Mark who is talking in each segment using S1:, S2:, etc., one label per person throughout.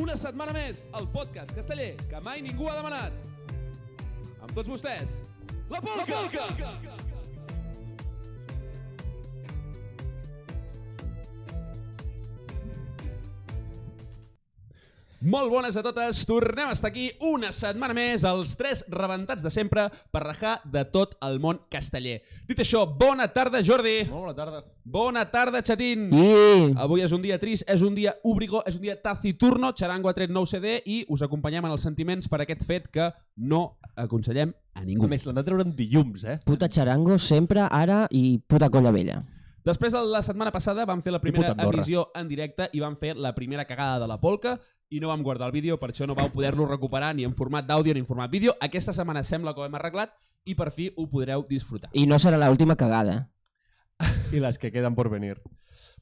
S1: Una setmana més, el podcast casteller que mai ningú ha demanat. Amb tots vostès, la Polca! La Polca! Molt bones a totes, tornem a estar aquí una setmana més, els tres rebentats de sempre, per rajar de tot el món casteller. Dit això, bona tarda, Jordi!
S2: Molt bona tarda.
S1: Bona tarda, Chatín! Avui és un dia trist, és un dia obrigó, és un dia taciturno. Charango ha tret nou CD i us acompanyem en els sentiments per aquest fet que no aconsellem a ningú.
S2: A més, l'han de treure amb dilluns, eh?
S3: Puta xarango, sempre, ara i puta colla vella.
S1: Després de la setmana passada vam fer la primera
S2: puta Andorra.
S1: emissió en directe i vam fer la primera cagada de la polca i no vam guardar el vídeo, per això no vau poder-lo recuperar ni en format d'àudio ni en format vídeo. Aquesta setmana sembla que ho hem arreglat i per fi ho podreu disfrutar.
S3: I no serà l'última cagada.
S2: I les que queden por venir.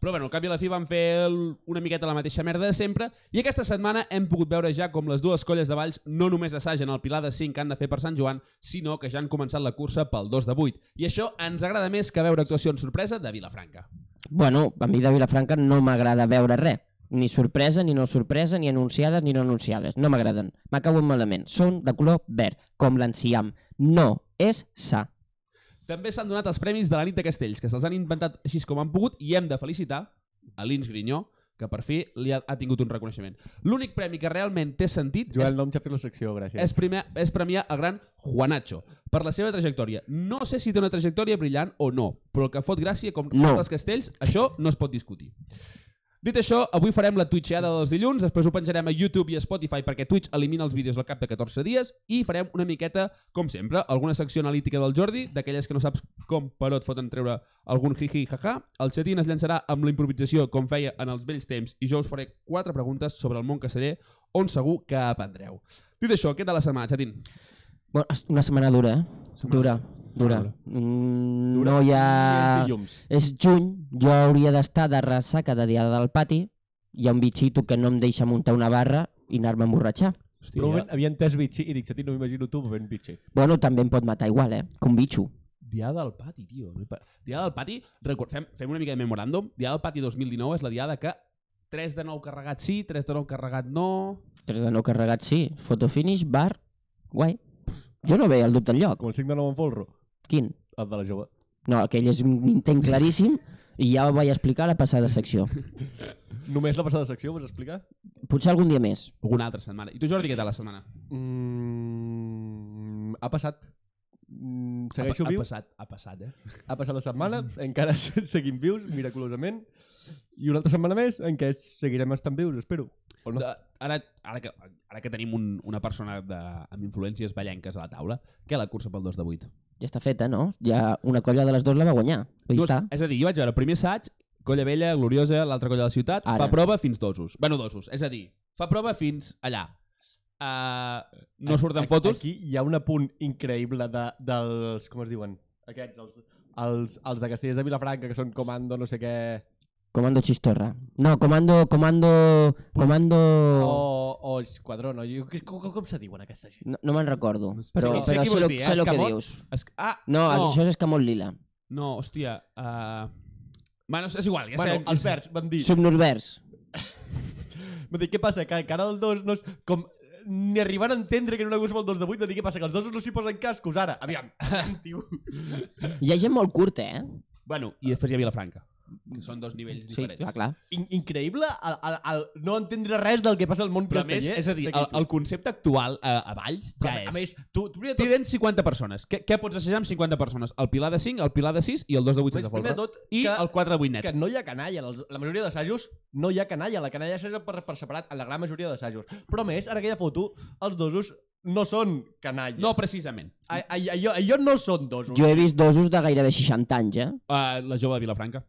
S1: Però bueno, al cap i a la fi vam fer el- una miqueta la mateixa merda de sempre i aquesta setmana hem pogut veure ja com les dues colles de Valls no només assagen el Pilar de 5 que han de fer per Sant Joan, sinó que ja han començat la cursa pel 2 de 8. I això ens agrada més que veure actuacions sorpresa de Vilafranca.
S3: Bueno, a mi de Vilafranca no m'agrada veure res. Ni sorpresa, ni no sorpresa, ni anunciades, ni no anunciades. No m'agraden. M'acauen malament. Són de color verd, com l'enciam. No és sa.
S1: També s'han donat els premis de la nit de Castells, que se'ls han inventat així com han pogut i hem de felicitar a l'Ins Grinyó, que per fi li ha, ha tingut un reconeixement. L'únic premi que realment té sentit
S2: Joel, no em xapis la secció, gràcies.
S1: és, primer, és premiar el gran Juanacho per la seva trajectòria. No sé si té una trajectòria brillant o no, però el que fot gràcia com
S3: No.
S1: no. els castells, això no es pot discutir. Dit això, avui farem la twitcheada dels dilluns, després ho penjarem a YouTube i a Spotify perquè Twitch elimina els vídeos al cap de 14 dies i farem una miqueta, com sempre, alguna secció analítica del Jordi, d'aquelles que no saps com però et foten treure algun hi-hi ha El xatín es llançarà amb la improvisació com feia en els vells temps i jo us faré quatre preguntes sobre el món casteller on segur que aprendreu. Dit això, què tal la setmana, xatín?
S3: Bueno, és una setmana dura, eh?
S1: Setmana
S3: Dura, dura.
S1: Setmana
S3: Mm,
S2: Dura.
S3: no hi
S2: I és
S3: ha...
S2: dilluns.
S3: És juny, jo hauria d'estar de ressaca de diada del pati. Hi ha un bitxito que no em deixa muntar una barra i anar-me a emborratxar.
S1: Hòstia,
S2: Per un moment havia entès bitxi i dic, Xatín, no m'imagino tu bevent bitxi.
S3: Bueno, també em pot matar igual, eh? Com bitxo.
S1: Diada del Pati, tio. Diada del Pati, record, fem, fem una mica de memoràndum. Diada del Pati 2019 és la diada que 3 de 9 carregat sí, 3 de 9 carregat no...
S3: 3 de 9 carregat, sí. Fotofinish, bar, guai. Jo no veia el dubte lloc.
S2: Com el 5 de 9 en folro.
S3: Quin?
S2: El de la jove.
S3: No, aquell és un intent claríssim i ja ho vaig explicar a la passada secció.
S2: Només la passada secció, vols explicar?
S3: Potser algun dia més.
S1: Alguna altra setmana. I tu, Jordi, què tal la setmana?
S2: Mm, ha passat. Mm,
S1: ha,
S2: segueixo
S1: pa-
S2: viu.
S1: Ha passat, ha passat, eh?
S2: Ha passat la setmana, encara seguim vius, miraculosament. I una altra setmana més en què seguirem estant vius, espero. O no?
S1: De, ara, ara, que, ara que tenim un, una persona de, amb influències ballenques a la taula, què la cursa pel 2 de 8?
S3: Ja està feta, no? Ja una colla de les dues la va guanyar. Vull dir, està.
S1: és a dir, jo vaig veure el primer assaig, Colla Vella, Gloriosa, l'altra colla de la ciutat,
S3: Ara.
S1: fa prova fins dosos. Bueno, dosos, és a dir, fa prova fins allà. Uh, no surten
S2: Aquí-
S1: fotos.
S2: Aquí hi ha un apunt increïble de, dels... Com es diuen? Aquests, els, els, els de Castellers de Vilafranca, que són comando, no sé què...
S3: Comando Chistorra. No, comando... Comando... Comando...
S1: Oh.
S2: O, o esquadrón, o... jo- Com, com, com se diuen aquesta gent?
S3: No, no me'n recordo,
S1: No sé.
S3: però,
S1: Sí, sé
S3: però
S1: qui
S3: sé,
S1: vols
S3: lo,
S1: dir, eh?
S3: sé lo que
S1: Escamot?
S3: dius.
S1: Es... Ah,
S3: No,
S1: no.
S3: això és escamot lila.
S1: No, hòstia... Uh... Bueno, és igual, ja
S2: bueno,
S1: sabem...
S2: els verds van dir,
S3: Subnurbers.
S2: van dir, què passa, que encara el dos no és... Com, ni arribant a entendre que era una cosa pel 2 de 8, van dir, què passa, que els dos no s'hi posen cascos, ara, aviam, aviam, tio.
S3: Hi ha gent molt curta, eh?
S1: Bueno, i després hi ha Vilafranca. Que són dos nivells
S3: Sí,
S1: diferents.
S3: clar, clar.
S2: In increïble el, el, el, no entendre res del que passa al món eh,
S1: Però a més,
S2: casteller.
S1: és a dir, el, el concepte actual eh, a, a Valls ja
S2: Però,
S1: és...
S2: a més, tu, tu primer de tot,
S1: Tenen 50 persones. Què, què pots assajar amb 50 persones? El pilar de 5, el pilar de 6 i el 2 de 8
S2: primer
S1: sense
S2: de
S1: folre.
S2: tot
S1: I
S2: que...
S1: el 4 de 8 net.
S2: que no hi ha canalla. en els- La majoria d'assajos no hi ha canalla. La canalla s'assaja per, per separat en la gran majoria d'assajos. Però a més, ara que ja foto, els dosos no són canalla.
S1: No, precisament.
S2: A, a, allò, allò no són dosos.
S3: Jo he vist dosos de gairebé 60 anys, eh?
S1: Uh, la jove de Vilafranca.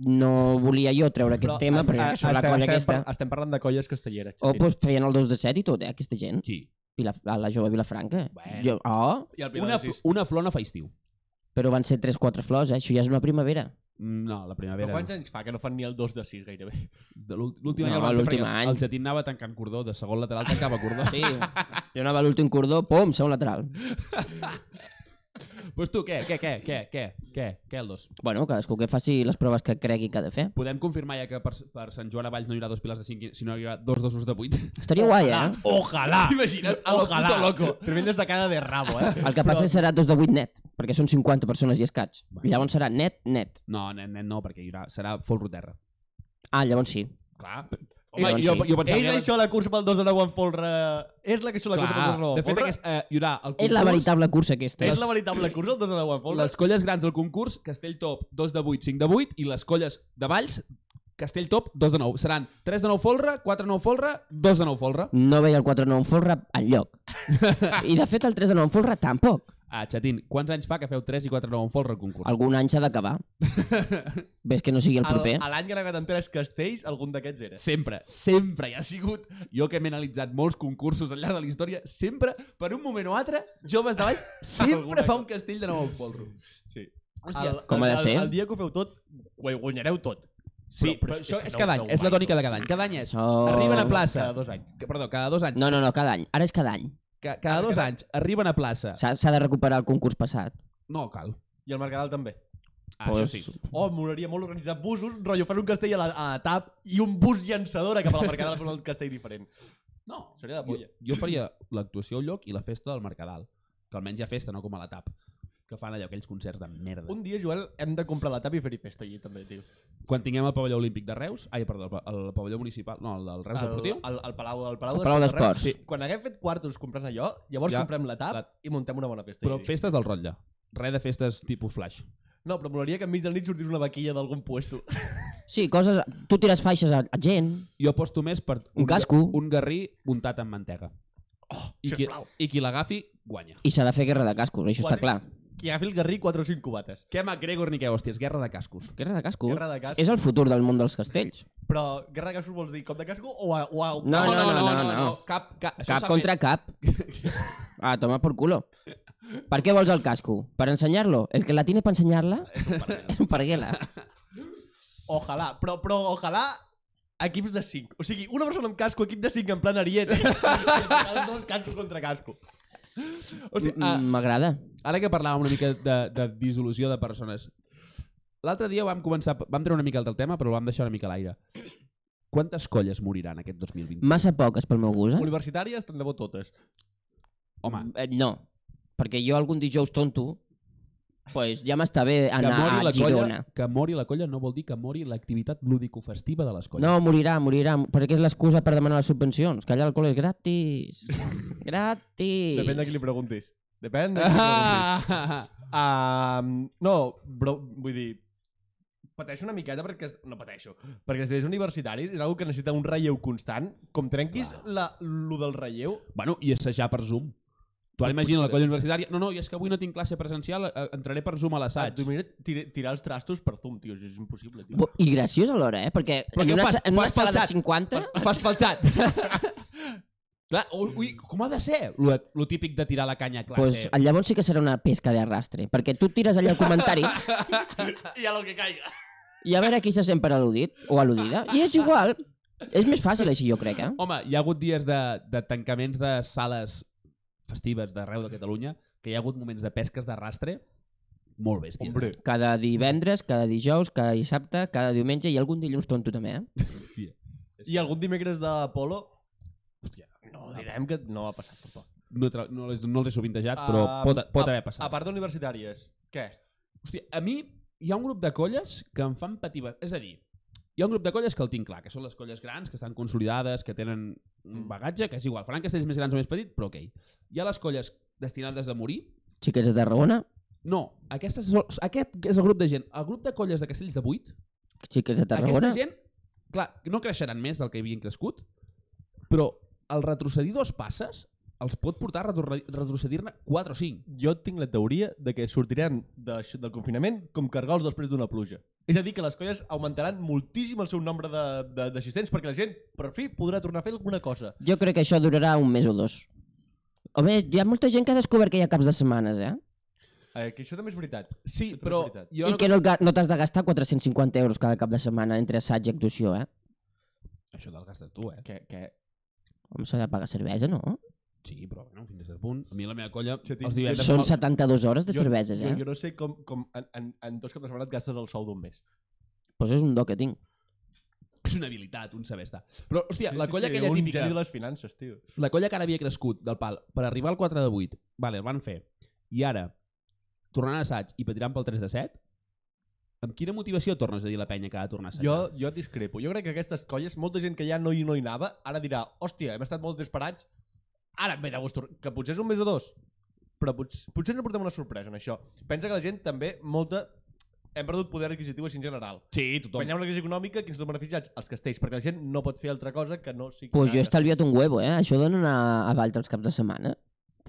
S3: No volia jo treure aquest tema,
S2: es-
S3: perquè
S2: a-
S3: sobre la
S2: estem-
S3: colla
S2: estem,
S3: aquesta...
S2: par- estem parlant de colles castelleres.
S3: O
S2: Xavier.
S3: pues, feien el 2 de 7 i tot, eh, aquesta gent.
S1: Sí.
S3: Vila, a la jove Vilafranca.
S1: Bueno.
S3: Jo, oh,
S2: I el Pilar
S1: Una,
S2: de sis.
S1: una flor no fa estiu.
S3: però van ser 3-4 flors, eh? Això ja és una primavera.
S1: Mm, No, la
S2: Però
S1: primavera.
S2: quants anys fa que no fan ni el 2 de 6 gairebé?
S1: De l'ú- L'últim
S3: No,
S1: any el van fer
S3: l'últim
S1: perquè el-
S3: any.
S1: el Jatín anava tancant cordó, de segon lateral tancava cordó.
S3: Sí. jo anava a l'últim cordó, pum, segon lateral.
S1: pues tu, què, què, què, què, què, què, què el dos?
S3: Bueno, cadascú que faci les proves que cregui que ha de fer.
S1: Podem confirmar ja que per, per Sant Joan a Valls no hi haurà dos pilars de 5, sinó hi haurà dos dosos de 8?
S3: Estaria guai, eh?
S2: Ojalá.
S1: T'imagines? A lo
S2: Ojalá.
S1: puto loco.
S2: Tremenda sacada de rabo, eh?
S3: El que passa és que serà dos de 8 net, perquè són 50 persones i escaig.
S1: Vale.
S3: Llavors serà net, net.
S1: No, nen, nen, no, perquè hi haurà, serà folro terra.
S3: Ah, llavors sí.
S1: Clar.
S3: Eh,
S1: Home,
S3: doncs
S1: jo,
S3: sí.
S1: jo pensava
S2: És
S1: que...
S2: això la cursa pel 2 de 9 en polre... És la que això la cursa pel 2 de
S1: Clar,
S2: 9
S1: de fet,
S2: en polre?
S1: aquest, eh, hi haurà el
S3: És la
S1: concurs,
S3: veritable cursa aquesta.
S2: És la veritable cursa, el 2 de 9 en polre?
S1: les colles grans del concurs, Castell Top 2 de 8, 5 de 8, i les colles de Valls, Castell Top 2 de 9. Seran 3 de 9 folre, 4 de 9 folre, 2 de 9 folre.
S3: No veia el 4 de 9 en folre enlloc. I de fet el 3 de 9 en folre tampoc.
S1: Ah, Xatín, quants anys fa que feu 3 i 4 de 9 folre al concurs?
S3: Algun any s'ha d'acabar. Ves que no sigui el
S2: Al-
S3: proper.
S2: A l'any que anaven en tres castells, algun d'aquests era.
S1: Sempre, sempre hi ha sigut, jo que m'he analitzat molts concursos al llarg de la història, sempre, per un moment o altre, joves de Valls sempre
S2: Alguna
S1: fa
S2: cosa.
S1: un castell de nou al polro.
S2: Sí.
S1: Hòstia,
S3: com ha de ser?
S2: El, el dia que ho feu tot, guai- guanyareu tot.
S1: sí, però, això és, cada any, és la tònica de cada any. Cada any és,
S3: Això...
S1: arriben a plaça,
S2: Cada dos anys.
S1: que, perdó, cada dos anys,
S3: No, no, no, cada any. Ara és cada any.
S1: ca, cada dos
S2: cada-
S1: anys arriben a plaça.
S3: S'ha s'ha de recuperar el concurs passat.
S1: No cal,
S2: I el Mercadal també.
S1: ah, això
S3: Pues-
S1: sí.
S2: Oh, m'agradaria molt organitzar busos, rotllo, fer un castell a la, a la TAP i un bus llançadora cap a la Mercadal per un castell diferent.
S1: No,
S2: Seria de
S1: jo,
S2: polla.
S1: jo faria l'actuació al lloc i la festa del Mercadal, que almenys hi ha festa, no com a la TAP, que fan allò, aquells concerts de merda.
S2: Un dia, Joel, hem de comprar la TAP i fer-hi festa allí, també, tio.
S1: Quan tinguem el pavelló olímpic de Reus, ai, perdó, el, pa- el pavelló municipal, no, el del Reus
S2: Al,
S1: Deportiu,
S2: al, al Palau, al Palau,
S3: Al Palau
S2: d'Esports de Reus.
S3: d'Esports.
S2: Sí. Quan haguem fet quartos comprant allò, llavors
S1: Ja.
S2: ja. comprem la TAP
S1: La-
S2: i muntem una bona festa.
S1: però
S2: allí.
S1: festes del rotlle. Res de festes tipus flash.
S2: No, però m'agradaria que enmig del nit sortís una vaquilla d'algun puesto.
S3: Sí, coses... Tu tires faixes a, a gent,
S1: Jo aposto més per
S3: un casco,
S1: un garrí untat amb mantega. Oh, I, qui,
S2: sisplau.
S1: I qui l'agafi, guanya.
S3: i s'ha de fer guerra de cascos, això està
S2: Quatre-
S3: clar.
S2: Qui agafi el garrí 4 o 5 cubates.
S1: Què McGregor ni què, hòsties, guerra de cascos.
S3: Guerra de cascos?
S2: Guerra de cascos.
S3: És el futur del món dels castells.
S2: Però guerra de cascos vols dir cop de casco o... A, o a...
S3: No, no, no, no, no.
S1: Cap, cap, això
S3: Cap
S1: s'ha
S3: contra cap. Ah, toma por culo. Per què vols el casco? Per ensenyar-lo? El que la tiene per ensenyar-la? És un parguela.
S2: Ojalà, però, però ojalà equips de 5. O sigui, una persona amb casco, equip de 5 en plan ariet. Els dos casco contra casco.
S1: Fet. Hòstia,
S3: Mm,
S1: ah,
S3: M'agrada.
S1: ara que parlàvem una mica de, de dissolució de persones, l'altre dia vam començar, vam treure una mica del tema, però ho vam deixar una mica a l'aire. Quantes colles moriran aquest 2020?
S3: Massa poques pel meu gust, eh?
S2: Universitàries, tant de bo totes.
S1: Home,
S3: Eh, No, perquè jo algun dijous tonto pues ja m'està bé
S1: que
S3: anar
S1: mori,
S3: a
S1: la colla,
S3: Girona.
S1: que mori la colla no vol dir que mori l'activitat lúdico-festiva de les colles.
S3: No, morirà, morirà, perquè és l'excusa per demanar les subvencions, que allà l'alcohol és gratis. gratis.
S2: Depèn de qui li preguntis. Depèn de qui li preguntis.
S1: Ah!
S2: Um, no, però vull dir, pateixo una miqueta perquè... es- No pateixo. Perquè els universitaris és algo que necessita un relleu constant. Com trenquis la, lo del relleu,
S1: Bueno, i assajar per Zoom. Tu ara imagina la colla universitària. No, no, i és que avui no tinc classe presencial, eh, entraré per Zoom a
S2: et
S1: l'assaig.
S2: domina tir tirar els trastos per Zoom, tio. És impossible, tio.
S3: Bo- I graciós alhora, eh? Perquè
S1: Però
S3: en
S1: què
S3: una,
S1: fas?
S3: sa- en una
S1: Fas pel
S3: sala de
S1: xat?
S3: 50...
S1: Fas pel xat. Clar, ui, ui, com ha de ser lo, lo típic de tirar la canya a
S3: Pues,
S1: classe? Pues,
S3: llavors sí que serà una pesca d'arrastre, perquè tu tires allà el comentari
S2: I a lo que caiga.
S3: i a veure qui se sent per al·ludit o al·ludida. I és igual. És més fàcil així, jo crec, eh?
S1: Home, hi ha hagut dies de, de tancaments de sales festives d'arreu de Catalunya que hi ha hagut moments de pesques d'arrastre molt bèsties. eh?
S2: Hombre.
S3: Cada divendres, cada dijous, cada dissabte, cada diumenge i algun dilluns tonto també, eh?
S2: I algun dimecres de Polo...
S1: Hòstia,
S2: No, direm que no ha passat tampoc.
S1: no, tra- no, les- no els he sovintejat, però
S2: Ah,
S1: pot, pot
S2: a-
S1: haver passat.
S2: A part d'universitàries, què?
S1: Hòstia, a mi hi ha un grup de colles que em fan patir... ba- És a dir, hi ha un grup de colles que el tinc clar, que són les colles grans, que estan consolidades, que tenen
S3: Mm.
S1: un bagatge, que és igual, faran castells més grans o més petit, però ok. Hi ha les colles destinades a morir.
S3: Xiquets de Tarragona,
S1: No, aquestes, són- aquest és el grup de gent. El grup de colles de castells de 8,
S3: xiquets de Tarragona...
S1: aquesta gent, clar, no creixeran més del que havien crescut, però el retrocedir dos passes els pot portar a retorre- retrocedir-ne 4 o 5.
S2: Jo tinc la teoria de que sortirem d'això- del confinament com cargols després d'una pluja. És a dir, que les colles augmentaran moltíssim el seu nombre de- de- d'assistents perquè la gent, per fi, podrà tornar a fer alguna cosa.
S3: Jo crec que això durarà un mes o dos. Home, hi ha molta gent que ha descobert que hi ha caps de setmanes, eh?
S2: Eh, que això també és veritat.
S1: Sí,
S2: és
S1: però
S2: veritat.
S1: jo
S3: I que no, et ga- no t'has de gastar 450 euros cada cap de setmana entre assaig i actuació, eh?
S1: Això te'l gastes tu, eh?
S2: Que, que...
S3: Home, s'ha de pagar cervesa, no?
S1: Sí, però bueno, fins a cert punt. A mi la meva colla...
S2: Sí, tinc-
S1: els divendres...
S3: Són 72 hores de
S2: Jo-
S3: cerveses, eh?
S2: Jo, jo no sé com, com en, en, en dos caps de setmana et gastes el sou d'un mes.
S3: Pues és un do que tinc.
S1: És una habilitat, un saber estar. Però, hòstia, la colla aquella
S2: un
S1: típica...
S2: geni de les finances, tio.
S1: La colla que ara havia crescut del pal per arribar al 4 de 8, vale, el van fer, i ara, tornant a assaig i patirant pel 3 de 7, amb quina motivació tornes a dir a la penya que ha de tornar a assajar?
S2: Jo,
S3: eh?
S2: jo discrepo. Jo crec que aquestes colles, molta gent que ja no hi, no hi anava, ara dirà, hòstia, hem estat molt desesperats, ara em ve de gust, tornar", que potser és un mes o dos, però potser, potser ens portem una sorpresa en això. Pensa que la gent també, molta, hem perdut poder adquisitiu així en general.
S1: Sí,
S3: Doncs-
S2: Quan hi
S1: tothom.
S2: ha una crisi econòmica, qui ens són beneficiats? Els castells, perquè la gent no pot fer altra cosa que no sigui...
S3: Pues jo he
S2: casa.
S3: estalviat un huevo, eh? Això donen a, a Valtra els caps de setmana.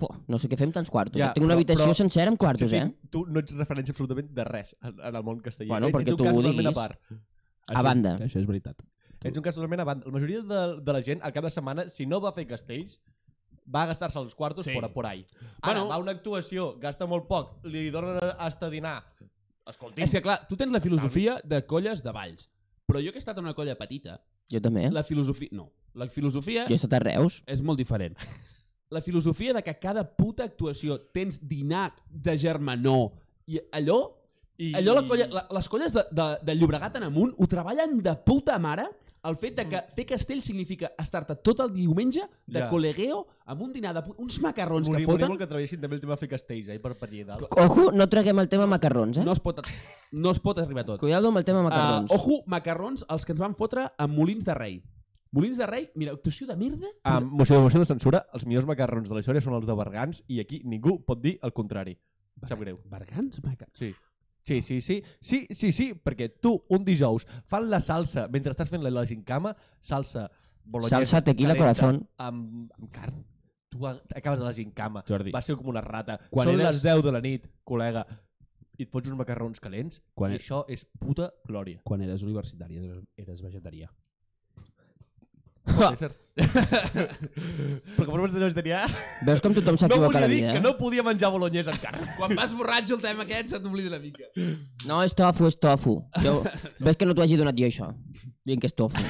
S3: Fuà, no sé què fem tants quartos.
S2: Ja,
S3: Ja, tinc una
S2: però-
S3: habitació
S2: però-
S3: sencera amb quartos,
S2: Sí, sí,
S3: eh?
S2: Tu no ets referència absolutament de res en, en el món castellà.
S3: Bueno,
S2: Ets-
S3: perquè
S2: ets un
S3: tu
S2: cas
S3: ho
S2: totalment
S3: diguis.
S2: A part.
S1: Això-
S3: banda.
S1: que Això és veritat.
S2: Ets un cas totalment a banda. La majoria de, de la gent, al cap de setmana, si no va fer castells, va gastar-se els quartos
S1: Sí.
S2: sí. por, a por ahí. Ara,
S1: Bueno.
S2: bueno, va a una actuació, gasta molt poc, li donen hasta dinar. Escolti,
S1: És que, clar, tu tens la filosofia de colles de valls, però jo que he estat en una colla petita,
S3: Jo també.
S1: la filosofia... No, la filosofia
S3: Eh? Jo he estat a Reus.
S1: és molt diferent. La filosofia de que cada puta actuació tens dinar de germanor i allò
S2: I...
S1: Allò la colla, la, les colles de, de, de Llobregat en amunt ho treballen de puta mare el fet de que fer castell significa estar-te tot el diumenge de
S2: Ja.
S1: col·legueo amb un dinar de pu- uns macarrons
S2: Morim,
S1: que foten.
S2: molt que treballessin també el tema de fer castells, eh, per patir dalt.
S3: Ojo, no traguem el tema macarrons, eh? Ah,
S1: No, es pot, no es pot arribar a tot.
S3: Cuidado amb el tema macarrons.
S1: Uh, ojo, macarrons, els que ens van fotre amb Molins de Rei. Molins de Rei, mira, actuació de merda.
S2: Amb moció de moció de censura, els millors macarrons de la història són els de Bergans i aquí ningú pot dir el contrari. Em Sap greu.
S1: Bergans, maca...
S2: Sí. Sí, sí, sí. Sí, sí, sí, perquè tu, un dijous, fan la salsa, mentre estàs fent la, la gincama, salsa bolognesa.
S3: Salsa, tequila,
S2: calenta,
S3: corazón.
S2: Amb, amb carn. Tu a- acabes de la gincama.
S1: Jordi,
S2: Va ser com una rata.
S1: Quan
S2: Quan Són
S1: eres-
S2: les 10 de la nit, col·lega. I et fots uns macarrons calents
S1: Quan e-
S2: i això és puta glòria.
S1: quan eres universitari eres, eres vegetarià.
S2: Pot ser. Ah. Però com no vas vegetarià,
S3: Veus com tothom
S2: no
S3: s'equivoca a
S2: volia
S3: la
S2: dir
S3: vida,
S2: que
S3: eh?
S2: no podia menjar bolognesa amb carn.
S1: Quan vas borratxo el tema aquest se't oblida una mica.
S3: No, és tofu, és tofu. Jo... Ves que no t'ho hagi donat jo, això. Dient que és tofu.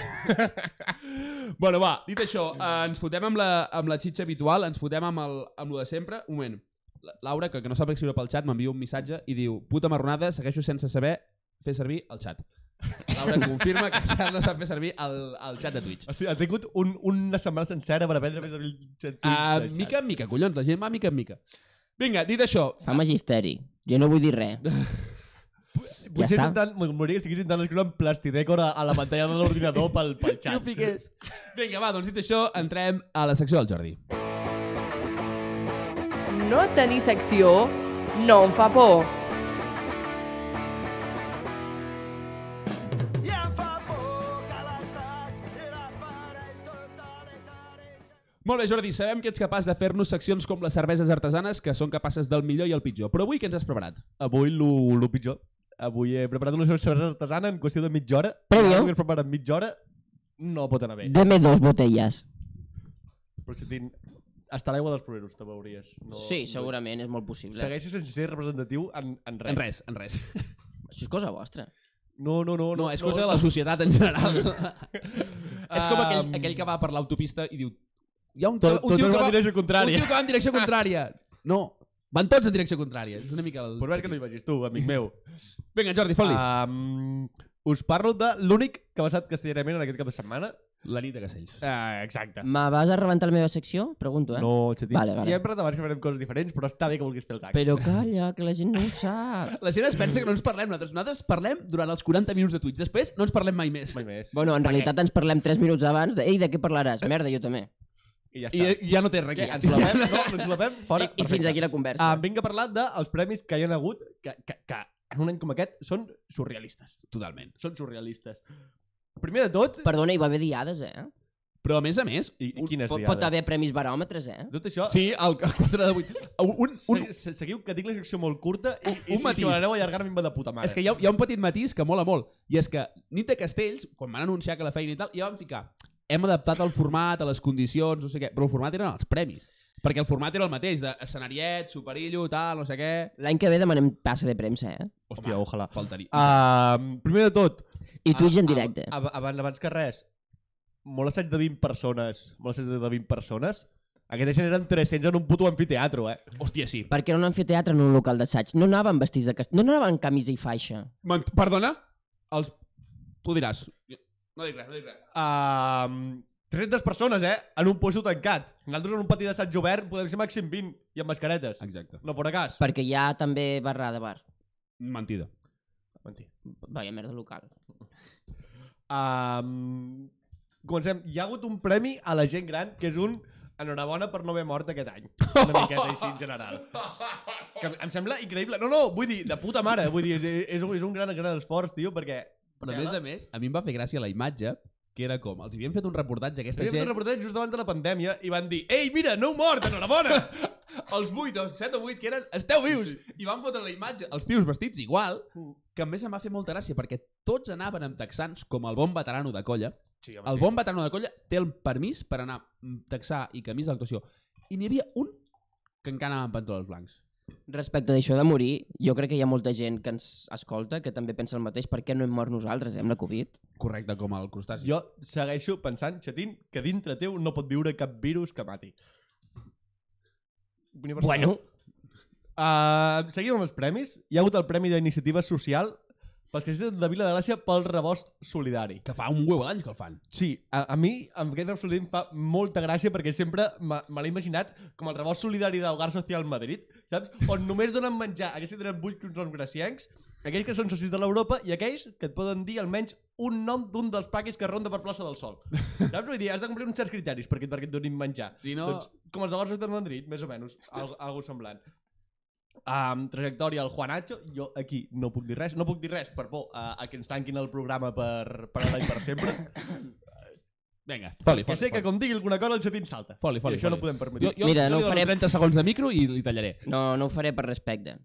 S1: Bueno, va, dit això, eh, ens fotem amb la, amb la xitxa habitual, ens fotem amb el, amb lo de sempre. Un moment. La- Laura, que, que no sap escriure pel xat, m'envia un missatge i diu puta marronada, segueixo sense saber fer servir el xat. Laura confirma que encara no sap fer servir el, el xat de Twitch.
S2: Hòstia, ha tingut un, una setmana sencera per aprendre més abril. Ah,
S1: Uh, mica en mica, collons, la gent va mica en mica. Vinga, dit això,
S3: Fa magisteri. Jo no vull dir res.
S2: Potser
S3: està.
S2: ja intentant, m'hauria que estigués intentant escriure en plastidècor a, a la pantalla de l'ordinador pel, pel
S1: que ho
S2: xat.
S1: piqués. Vinga, va, doncs dit això, entrem a la secció del Jordi.
S4: No tenir secció no em fa por.
S1: Molt bé, Jordi, sabem que ets capaç de fer-nos seccions com les cerveses artesanes, que són capaces del millor i el pitjor. Però avui què ens has preparat?
S2: Avui lo, lo pitjor. Avui he preparat una cervesa artesana en qüestió de mitja hora.
S3: Prèvio.
S2: Si no preparat en mitja hora, no pot anar bé.
S3: Deme dos botellas.
S2: Però si tinc... Està a l'aigua dels proveros, te veuries. No,
S3: Sí, segurament, és molt possible.
S2: No. Segueixi sense ser representatiu en, en res.
S1: En res, en res.
S3: Això és cosa vostra.
S2: No, no, no.
S1: No, és cosa de la societat en general. és com aquell,
S2: Um,
S1: aquell que va per l'autopista i diu... Hi ha un,
S2: Tot,
S1: un,
S2: tot
S1: tio
S2: és
S1: que
S2: la
S1: va, un
S2: direcció contrària.
S1: tio que va en direcció contrària. No, van tots en direcció contrària. És una mica el...
S2: Però ves que no hi vagis tu, amic meu.
S1: Vinga, Jordi, fot-li.
S2: Um, us parlo de l'únic que ha passat castellanament en aquest cap de setmana.
S1: La nit de Castells.
S2: Uh, exacte.
S3: Me vas a rebentar la meva secció? Pregunto, eh?
S2: No, Xatín.
S3: Vale, vale.
S2: Ja hem parlat abans que farem coses diferents, però està bé que vulguis fer el gag.
S3: Però calla, que la gent no ho sap.
S1: La gent es pensa que no ens parlem nosaltres. Nosaltres parlem durant els 40 minuts de Twitch. Després no ens parlem mai més.
S2: Mai més.
S3: Bueno, en realitat ens parlem 3 minuts abans de... Ei, de què parlaràs? Merda, jo també.
S2: I ja
S1: I
S2: està.
S1: eh, ja no té res
S2: Què, ens
S1: aquí.
S2: la fem? No, no ens la fem? Fora.
S3: I, i fins aquí la conversa.
S2: Em vinc a parlar dels premis que hi han hagut, que, que, que en un any com aquest són surrealistes.
S1: Totalment.
S2: Són surrealistes. Primer de tot...
S3: Perdona, hi va haver diades, eh?
S1: Però a més a més...
S2: I, i quines
S3: Pot,
S2: diades?
S3: pot haver premis baròmetres, eh?
S2: Tot això...
S1: Sí, el 4 de 8. Un, un,
S2: Se, se, seguiu que tinc la secció molt curta i, i
S1: Un
S2: si,
S1: matís.
S2: si me l'aneu allargant a mi em va de puta mare.
S1: És que hi ha, hi ha un petit matís que mola molt, i és que Nit de Castells, quan van anunciar que la feina i tal, ja van ficar hem adaptat el format a les condicions, no sé què, però el format eren els premis. Perquè el format era el mateix, d'escenariet, superillo, tal, no sé què...
S3: L'any que ve demanem passa de premsa, eh?
S2: Hòstia,
S1: Home.
S2: ojalà.
S1: Faltaria.
S2: Uh, primer de tot...
S3: I Twitch en
S2: ab-
S3: directe.
S2: ab- Abans, abans que res, molt assaig de 20 persones, molt assaig de 20 persones, Aquest gent eren 300 en un puto anfiteatro, eh?
S1: Hòstia, sí.
S3: Perquè era un amfiteatre en un local d'assaig. No anaven vestits de castell. No anaven amb camisa i faixa.
S1: Man Perdona? Els... Tu diràs. No dic res, no dic res.
S2: Um, 300 persones, eh? En un puesto tancat. Nosaltres en un pati d'assaig obert podem ser màxim 20 i amb mascaretes.
S1: Exacte.
S2: No fora cas.
S3: Perquè hi ha també barra de bar.
S1: Mentida.
S2: Mentir.
S3: Vaja merda local.
S2: Um, comencem. Hi ha hagut un premi a la gent gran, que és un enhorabona per no haver mort aquest any. Una miqueta així, en general. Que em sembla increïble. No, no, vull dir, de puta mare. Vull dir, és, és, un- és un gran, gran esforç, tio, perquè...
S1: Però a més a més, a mi em va fer gràcia la imatge, que era com, els havien fet un reportatge a aquesta
S2: Havíem fet un
S1: gent,
S2: reportatge just abans de la pandèmia i van dir Ei, mira, no heu mort, enhorabona!
S1: els 8 o 7 o 8 que eren, esteu vius! I van fotre la imatge, els tios vestits igual,
S2: Mm.
S1: que a més em va fer molta gràcia, perquè tots anaven amb texans, com el bon veterano de colla.
S2: Sí, home,
S1: El bon veterano de colla té el permís per anar amb texà i camisa d'actuació. I n'hi havia un que encara anava amb pantalons blancs.
S3: Respecte d'això de morir, jo crec que hi ha molta gent que ens escolta que també pensa el mateix. Per què no hem mort nosaltres, eh, amb la Covid?
S1: Correcte, com el crustaci.
S2: Jo segueixo pensant, Xatín, que dintre teu no pot viure cap virus que mati. Opinió personal.
S3: Bueno,
S2: Uh, seguim amb els premis. Hi ha hagut el Premi d'Iniciativa Social pels que de Vila de Gràcia pel rebost solidari.
S1: Que fa un huevo d'anys que el fan.
S2: Sí, a, a mi amb aquest rebost solidari em fa molta gràcia perquè sempre me, me l'he imaginat com el rebost solidari del Hogar Social Madrid, saps? On només donen menjar a aquells que tenen vuit crons graciencs, aquells que són socis de l'Europa i aquells que et poden dir almenys un nom d'un dels paquis que ronda per plaça del Sol. Saps? Vull dir, has de complir uns certs criteris perquè, perquè et donin menjar.
S1: Si
S2: No.
S1: no...
S2: Doncs, com els de Barça de Madrid, més o menys, al, algo semblant. Amb trajectòria al Juanacho, jo aquí no puc dir res, no puc dir res per por a, a que ens tanquin el programa per, per ara i per sempre.
S1: Vinga, foli,
S2: que
S1: foli.
S2: sé que com digui alguna cosa el xatín salta.
S1: Foli, foli,
S2: I això
S1: foli.
S2: no podem
S1: Jo,
S2: permetre.
S1: jo,
S3: Mira,
S1: jo
S3: no
S1: li
S3: ho
S1: dono
S3: farem.
S1: 30 segons de micro i li tallaré.
S3: no, no ho faré per respecte.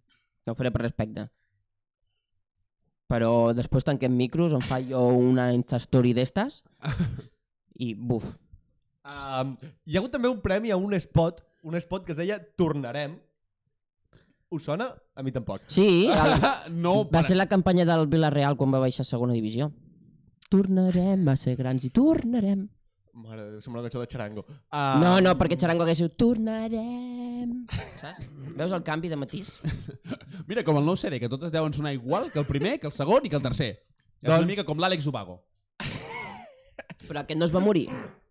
S3: No ho faré per respecte. Però després tanquem micros, em fa jo una instastory d'estes i buf.
S2: Um, hi ha hagut també un premi a un spot, un spot que es deia Tornarem. Us sona? A mi tampoc.
S3: Sí, el,
S1: no,
S3: va ser la campanya del Villarreal quan va baixar a segona divisió. Tornarem a ser grans i tornarem.
S2: Mare de Déu, sembla una cançó de xarango.
S3: Ah.
S2: Um,
S3: No, no, perquè Xarango hagués dit tornarem. Saps? Veus el canvi de matís?
S1: Mira, com el nou CD, que totes deuen sonar igual que el primer, que el segon i que el tercer. És
S2: Doncs-
S1: una mica com l'Àlex Ubago.
S3: Però aquest no es va morir.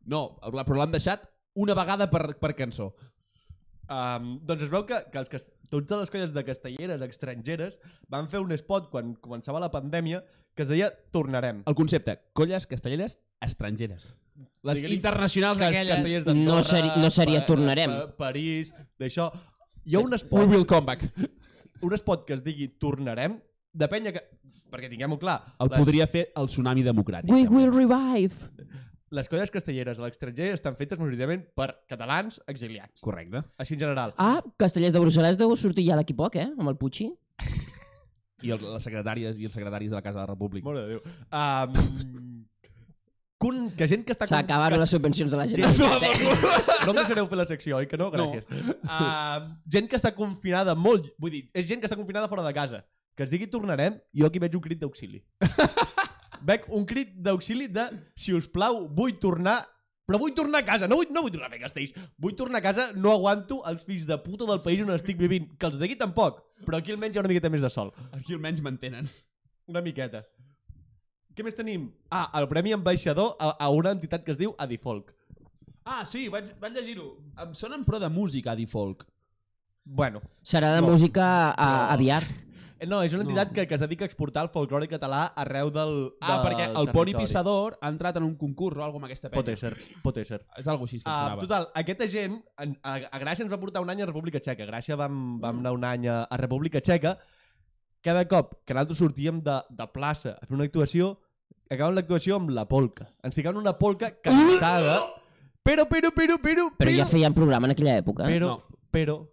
S1: No, el- però l'han deixat una vegada per, per cançó.
S2: Um, doncs es veu que, que els, cas- totes les colles de castelleres estrangeres van fer un spot quan començava la pandèmia que es deia Tornarem.
S1: El concepte, colles castelleres estrangeres. Les
S2: Digue-li-
S1: internacionals
S2: Cas-
S1: aquelles...
S2: castellers
S3: eh? No
S2: d'Andorra,
S3: seri- no seria
S2: Pa-
S3: Tornarem.
S2: Pa- París, d'això... Hi ha un
S1: We
S2: spot,
S1: will come back.
S2: un spot que es digui Tornarem, de penya que... Perquè tinguem-ho clar,
S1: El
S2: les,
S1: podria fer el tsunami democràtic.
S3: We
S1: també.
S3: will revive.
S2: les colles castelleres a l'estranger estan fetes majoritàriament per catalans exiliats.
S1: Correcte.
S2: Així en general.
S3: Ah, Castellers de Brussel·les deu sortir ja d'aquí poc, eh? Amb el Puigci.
S1: I els, les secretàries i els secretaris de la Casa de la República.
S2: Mare de Déu. Um, con, que gent que està... con-
S3: S'acabaron
S2: que-
S3: les subvencions de la
S2: Gent-
S3: Generalitat. eh?
S2: No em deixareu fer la secció, oi que no? Gràcies. Uh, gent que està confinada molt... Vull dir, és gent que està confinada fora de casa. Que es digui tornarem, jo aquí veig un crit d'auxili. veig un crit d'auxili de, si us plau, vull tornar... Però vull tornar a casa, no vull, no vull tornar a fer castells. Vull tornar a casa, no aguanto els fills de puta del país on estic vivint. Que els d'aquí tampoc, però aquí almenys hi ha una miqueta més de sol.
S1: Aquí almenys mantenen.
S2: Una miqueta. Què més tenim? Ah, el Premi Ambaixador a, a una entitat que es diu Adifolk.
S1: Ah, sí, vaig, vaig llegir-ho. Em sonen però de música, a dir folk.
S2: Bueno,
S3: Serà de
S2: No.
S3: música a,
S2: No.
S3: aviar.
S2: Eh, No, és una
S1: No.
S2: entitat que, que es dedica a exportar el folklore català arreu del,
S1: Ah,
S2: del
S1: perquè el Poni Pissador ha entrat en un concurs o alguna cosa amb aquesta penya.
S2: Pot ser, pot ser.
S1: És algo així que em
S2: Uh,
S1: sonava.
S2: total, aquesta gent, en, a, a Gràcia ens va portar un any a República Txeca. A Gràcia vam,
S1: Mm.
S2: vam anar un any a, a República Txeca. Cada cop que nosaltres sortíem de, de plaça a fer una actuació, acabaven l'actuació amb la polca. Ens ficaven una polca
S1: Uh!
S2: cantada, però, però, però, però,
S3: Però ja feien programa en aquella època.
S2: però,
S1: No.
S2: però...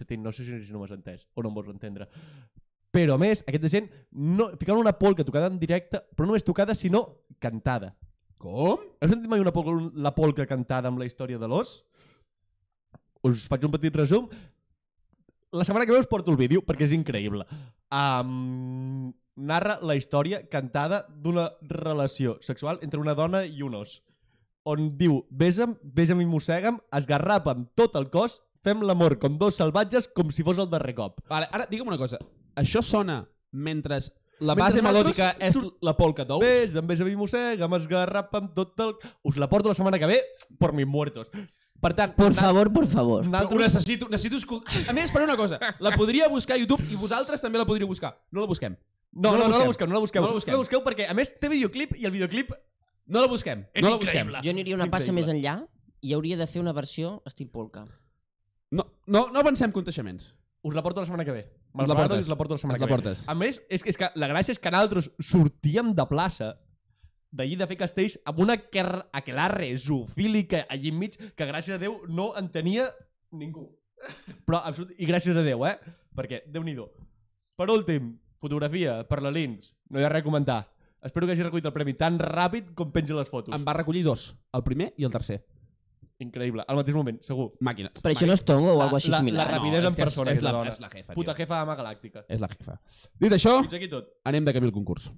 S2: Xatín, no sé si, si no m'has entès o no em vols entendre. Però, a més, aquesta gent no, ficaven una polca tocada en directe, però no només tocada, sinó cantada.
S1: Com?
S2: Has sentit mai una polca, la polca cantada amb la història de l'os? Us faig un petit resum. La setmana que ve us porto el vídeo, perquè és increïble. Um, narra la història cantada d'una relació sexual entre una dona i un os. on diu Besa'm, besa'm i mossega'm, esgarrapa'm tot el cos, fem l'amor com dos salvatges com si fos el darrer cop.
S1: Vale, ara, digue'm una cosa. Això sona mentre la
S2: Mentre
S1: base
S2: nosaltres
S1: melòdica és
S2: surt-
S1: la polca d'ou?
S2: Besa'm, besa'm i mossega'm, esgarrapa'm tot el... Us la porto la setmana que ve per mis muertos. Per tant,
S3: Por
S2: na-
S3: favor, por favor.
S1: Ho
S2: Nosaltres...
S1: necessito, necessito escoltar. A més, faré una cosa. La podria buscar a YouTube i vosaltres també la podríeu buscar. No la busquem.
S2: No,
S1: no la
S2: no, no, la
S1: busquem.
S2: busqueu, no la busqueu.
S1: No la busquem.
S2: No la busqueu perquè, a més, té videoclip i el videoclip...
S1: No la busquem.
S2: És
S1: no la
S2: increïble.
S1: busquem.
S3: Jo aniria una passa
S2: Increïble.
S3: més enllà i hauria de fer una versió estil polca.
S1: No, no, no avancem conteixements.
S2: Us la porto la setmana que ve.
S1: Ens
S2: Me'ls
S1: la
S2: guardo
S1: portes.
S2: i us la porto la setmana
S1: Ens la
S2: que ve.
S1: portes.
S2: A més, és que, és que la gràcia és que nosaltres sortíem de plaça d'allí de fer castells amb una aquer- aquelarre zoofílica allí enmig que gràcies a Déu no en tenia ningú. Però, absolut, i gràcies a Déu, eh? Perquè, déu nhi Per últim, fotografia per la Lins. No hi ha res a comentar. Espero que hagi recollit el premi tan ràpid com penja les fotos.
S1: En va recollir dos. El primer i el tercer.
S2: Increïble. Al mateix moment, segur.
S1: Màquina. Ah,
S3: Però això no és tongo o
S2: La-
S3: alguna cosa així
S2: la-
S3: similar.
S2: la rapidesa
S1: és
S2: en
S1: que és-
S2: persona,
S1: És,
S2: aquesta
S1: la,
S2: dona.
S1: és la jefa,
S2: Puta
S1: Puta
S2: jefa d'ama galàctica.
S1: És la jefa. Dit això,
S2: Fins aquí tot.
S1: anem de camí al concurs.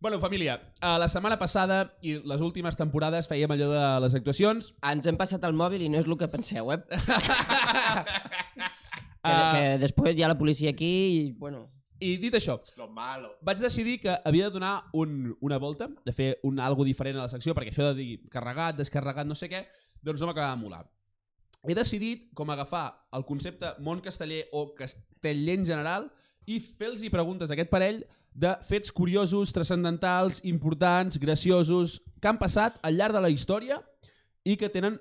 S1: Bueno, família, eh, la setmana passada i les últimes temporades fèiem allò de les actuacions.
S3: Ens hem passat el mòbil i no és el que penseu, eh? Ah. que, que
S1: Eh,
S3: després hi ha la policia aquí i, bueno...
S1: I dit això,
S2: Lo malo.
S1: vaig decidir que havia de donar un, una volta, de fer un algo diferent a la secció, perquè això de dir carregat, descarregat, no sé què, doncs no m'acabava de molar. He decidit com agafar el concepte món casteller o casteller en general i fer-los preguntes a aquest parell de fets curiosos, transcendentals, importants, graciosos, que han passat al llarg de la història i que tenen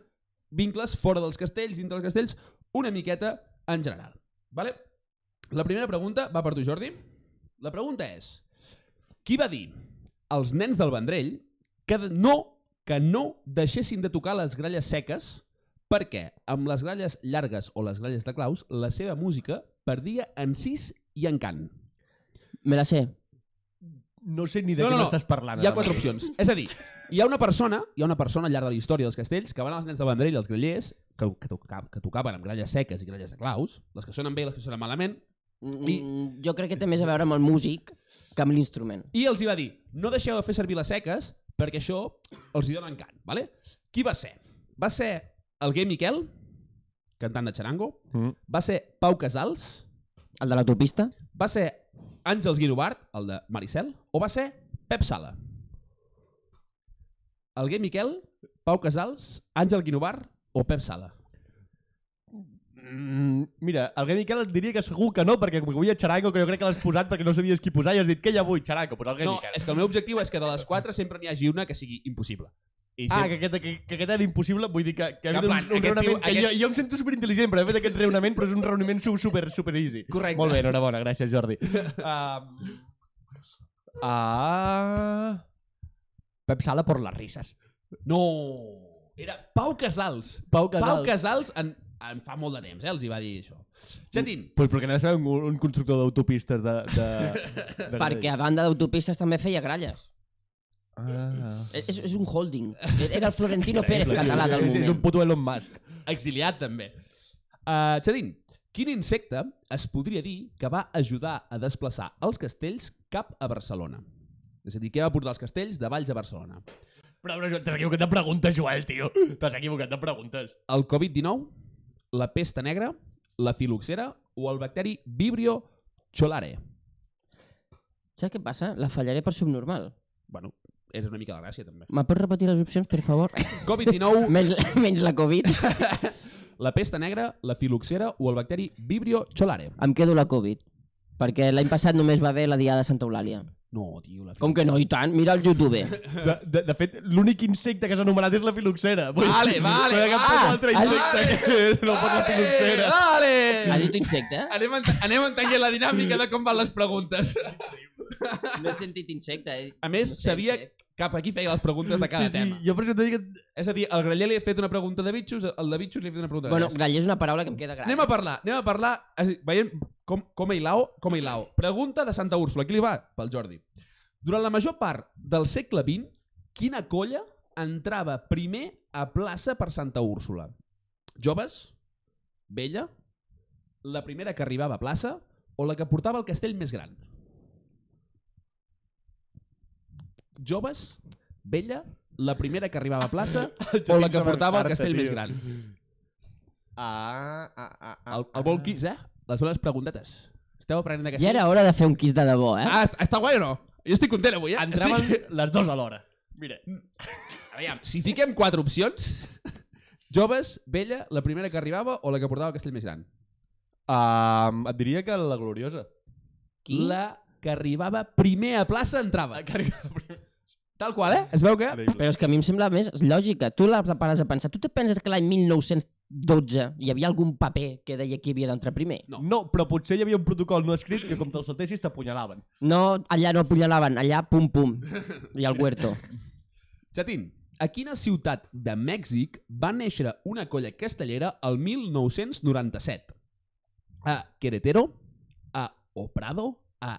S1: vincles fora dels castells, dintre dels castells, una miqueta en general. Vale? La primera pregunta va per tu, Jordi. La pregunta és, qui va dir als nens del Vendrell que de- no que no deixessin de tocar les gralles seques perquè amb les gralles llargues o les gralles de claus la seva música perdia en sis i en cant.
S3: Me la sé.
S2: No sé ni de
S1: No,
S2: què
S1: no, no.
S2: m'estàs parlant.
S1: Hi ha
S2: ara
S1: quatre
S2: mateix.
S1: opcions. És a dir, hi ha una persona, hi ha una persona al llarg de la història dels castells que van als nens de Vendrell, els grallers, que, que, toca, que tocaven amb gralles seques i gralles de claus, les que sonen bé i les que sonen malament, I-
S3: Mm, Jo crec que té més a veure amb el músic que amb l'instrument.
S1: I els hi va dir, no deixeu de fer servir les seques perquè això els hi dona encant, vale? Qui va ser? Va ser el Gay Miquel, cantant de xarango,
S2: Mm.
S1: va ser Pau Casals,
S3: El de l'autopista?
S1: va ser Àngels Guinovart, el de Maricel, o va ser Pep Sala? El Gay Miquel, Pau Casals, Àngel Guinovart o Pep Sala?
S2: Mm, mira, el Gay Miquel et diria que segur que no, perquè com que vull a Xaraco, que jo crec que l'has posat perquè no sabies qui posar, i has dit que ja vull Xaraco, però el Gay
S1: No,
S2: Miquel.
S1: és que el meu objectiu és que de les quatre sempre n'hi hagi una que sigui impossible. I
S2: Ah,
S1: sempre-
S2: que aquest, que, que aquest era impossible, vull dir que, que, ha
S1: Que,
S2: hagut
S1: en plan,
S2: un, un
S1: aquest
S2: raonament
S1: tio-
S2: que
S1: aquest-
S2: jo, jo em sento superintel·ligent per haver fet aquest raonament, però és un raonament su- super, super easy.
S1: Correcte.
S2: Molt bé, enhorabona, gràcies Jordi. Um, ah... Pep Sala por las risas.
S1: No! Era Pau Casals.
S2: Pau Casals.
S1: Pau Casals en, en fa molt de temps, eh? Els hi va dir això. Xantín,
S2: Pues perquè n'ha de ser un, un constructor d'autopistes de, de, de...
S3: Perquè a banda d'autopistes també feia gralles.
S2: Ah.
S3: És, és- és un holding. Era el Florentino Pérez
S2: Increïble,
S3: català
S2: tio.
S3: del
S2: És, és un
S3: moment.
S2: puto Elon Musk.
S1: exiliat també. Uh, Xantín, quin insecte es podria dir que va ajudar a desplaçar els castells cap a Barcelona? És a dir, què va portar els castells de Valls a Barcelona?
S2: Però, però t'has equivocat de preguntes, Joel, tio. T'has equivocat de preguntes.
S1: El Covid-19, la pesta negra, la filoxera o el bacteri Vibrio cholare?
S3: Saps què passa? La fallaré per subnormal.
S1: Bueno, és una mica la gràcia, també.
S3: Me pots repetir les opcions, per favor?
S1: Covid-19,
S3: Menys, menys la Covid.
S1: la pesta negra, la filoxera o el bacteri Vibrio cholare.
S3: Em quedo la Covid. Perquè l'any passat només va haver la Diada de Santa Eulàlia.
S1: No, tio, la
S3: Com que no, i tant? Mira el youtuber.
S2: De, de, de fet, l'únic insecte que s'ha anomenat és la filoxera. Vull
S1: Vale,
S2: dir,
S1: vale,
S2: No hi ha cap
S1: va.
S2: altre
S3: Ah,
S2: insecte que no fos la filoxera.
S3: Ha
S1: Vale!
S3: dit insecte?
S1: Anem, ent anem entenent la dinàmica de com van les preguntes.
S3: No he sentit insecte. eh?
S1: A més,
S3: No sé,
S1: sabia
S3: no sé.
S1: cap a qui feia les preguntes de cada
S2: sí,
S1: tema.
S2: Sí, jo per això t'he dit que...
S1: És a dir, al Graller li he fet una pregunta de bitxos, al de bitxos li he fet una pregunta de
S3: Bueno,
S1: bitxos.
S3: grallers és una paraula que em queda gran. eh?
S1: Anem a parlar, anem a parlar, és a dir, veiem com, com a Ilao, com a Ilao. Pregunta de Santa Úrsula, qui li va? Pel Jordi. Durant la major part del segle XX, Quina colla entrava primer a plaça per Santa Úrsula? Joves? Vella? La primera que arribava a plaça o la que portava el castell més gran? Joves? Vella? La primera que arribava a plaça o la que portava el castell més gran?
S2: Ah, ah, ah, ah.
S1: El, el vol quiz, eh? Les bones preguntetes. Esteu aprenent
S3: Ja
S1: d'aquesta?
S3: era hora de fer un quiz de debò, eh?
S1: Ah, està guai o no? Jo estic content avui, eh?
S2: Entraven
S1: Estic...
S2: les dues alhora. Mira,
S1: Aviam, si fiquem quatre opcions... Joves, vella, la primera que arribava o la que portava el castell més gran?
S2: um, et diria que la gloriosa.
S3: Qui?
S1: La que arribava primer a plaça entrava. Tal qual, eh? Es veu que...
S3: Però és que a mi em sembla més lògica. Tu la pares a pensar. Tu te penses que l'any 1912 hi havia algun paper que deia qui havia d'entrar primer?
S1: No.
S2: No, però potser hi havia un protocol no escrit que com te'l saltessis t'apunyalaven.
S3: No, allà no apunyalaven, allà pum pum. I al huerto.
S1: Chatín, a quina ciutat de Mèxic va néixer una colla castellera el 1997? A Querétaro, a Oprado, a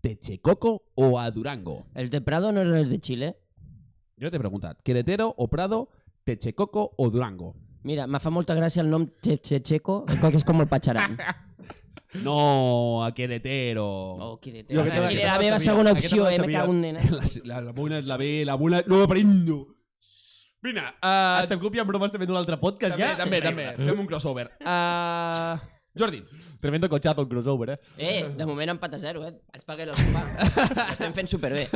S1: Texcoco o a Durango?
S3: Els de Prado no eren els de Xile?
S1: Jo t'he preguntat. Querétaro, Oprado, Texcoco o Durango?
S3: Mira, me fa molta gràcia el nom Checheco, que és com el Patxaran.
S1: No, a Querétaro.
S3: Oh, qui de
S2: Jo
S3: teva.
S1: aquesta me la-
S3: Era la
S2: aquesta me la
S3: meva
S2: sabia,
S3: segona
S2: aquesta
S3: opció,
S2: me la
S3: eh? Me
S2: sabia.
S3: cago en nena.
S1: La, la, la bona és la B, la bona... No aprendo! Vina,
S2: Uh,
S1: uh,
S2: Estem copiant bromes també d'un altre podcast,
S1: també,
S2: ja?
S1: també, també. Fem un crossover. Uh, Jordi,
S2: Tremendo cotxazo el crossover, eh?
S3: Eh, de moment empat a zero, eh? Ens paguen el sopar. Estem fent superbé.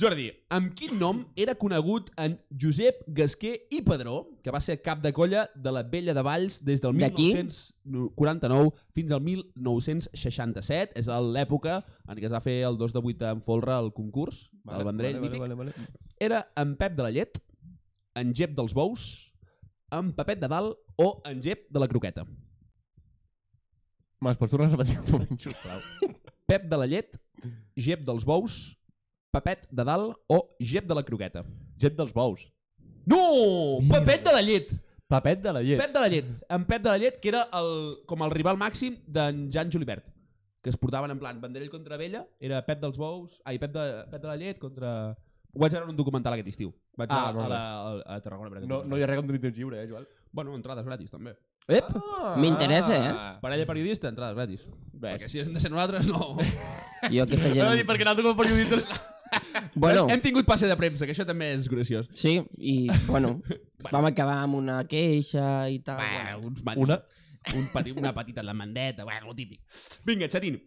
S1: Jordi, amb quin nom era conegut en Josep Gasquer i Pedró, que va ser cap de colla de la Vella de Valls des del
S3: D'aquí?
S1: 1949 fins al 1967, és a l'època en què es va fer el 2 de 8 en folre el concurs, vale, el Vendrell mític.
S2: vale, vale.
S1: era en Pep de la Llet, en Jep dels Bous, en Pepet de Dalt o en Jep de la Croqueta.
S2: Mas, pots tornar a repetir un moment, sisplau?
S1: Pep de la Llet, Jep dels Bous, Pepet de Dalt o Jep de la Croqueta.
S2: Gent dels bous.
S1: No! Pepet de la Llet!
S2: Papet de la llet.
S1: Pep de la Llet. En Pep de la Llet, que era el, com el rival màxim d'en Jan Julivert que es portaven en plan Vendrell contra Vella, era Pep dels Bous, ai, Pep de, Pep de la Llet contra... Ho vaig veure en un documental aquest estiu. Vaig
S2: Ah,
S1: ah, a,
S2: molt bé.
S1: la, a, a Tarragona. per aquest
S2: No, no hi ha res com tenir temps lliure, eh, Joan?
S1: Bueno, entrades gratis, també.
S3: Ep,
S1: Ah.
S3: m'interessa, eh?
S1: Parella periodista, entrades gratis.
S2: Ves.
S1: Perquè si hem de ser nosaltres, no.
S3: jo aquesta
S2: Ara dir
S3: gent...
S2: perquè nosaltres com a periodistes...
S3: Bueno,
S1: Hem tingut passe de premsa, que això també és graciós.
S3: sí, i bueno, vam acabar amb una queixa i tal.
S1: Ah, Bueno,
S3: Bueno.
S1: uns mati,
S2: Una.
S1: Un petit, una petita lamandeta, bueno, el típic. Vinga, Xatín.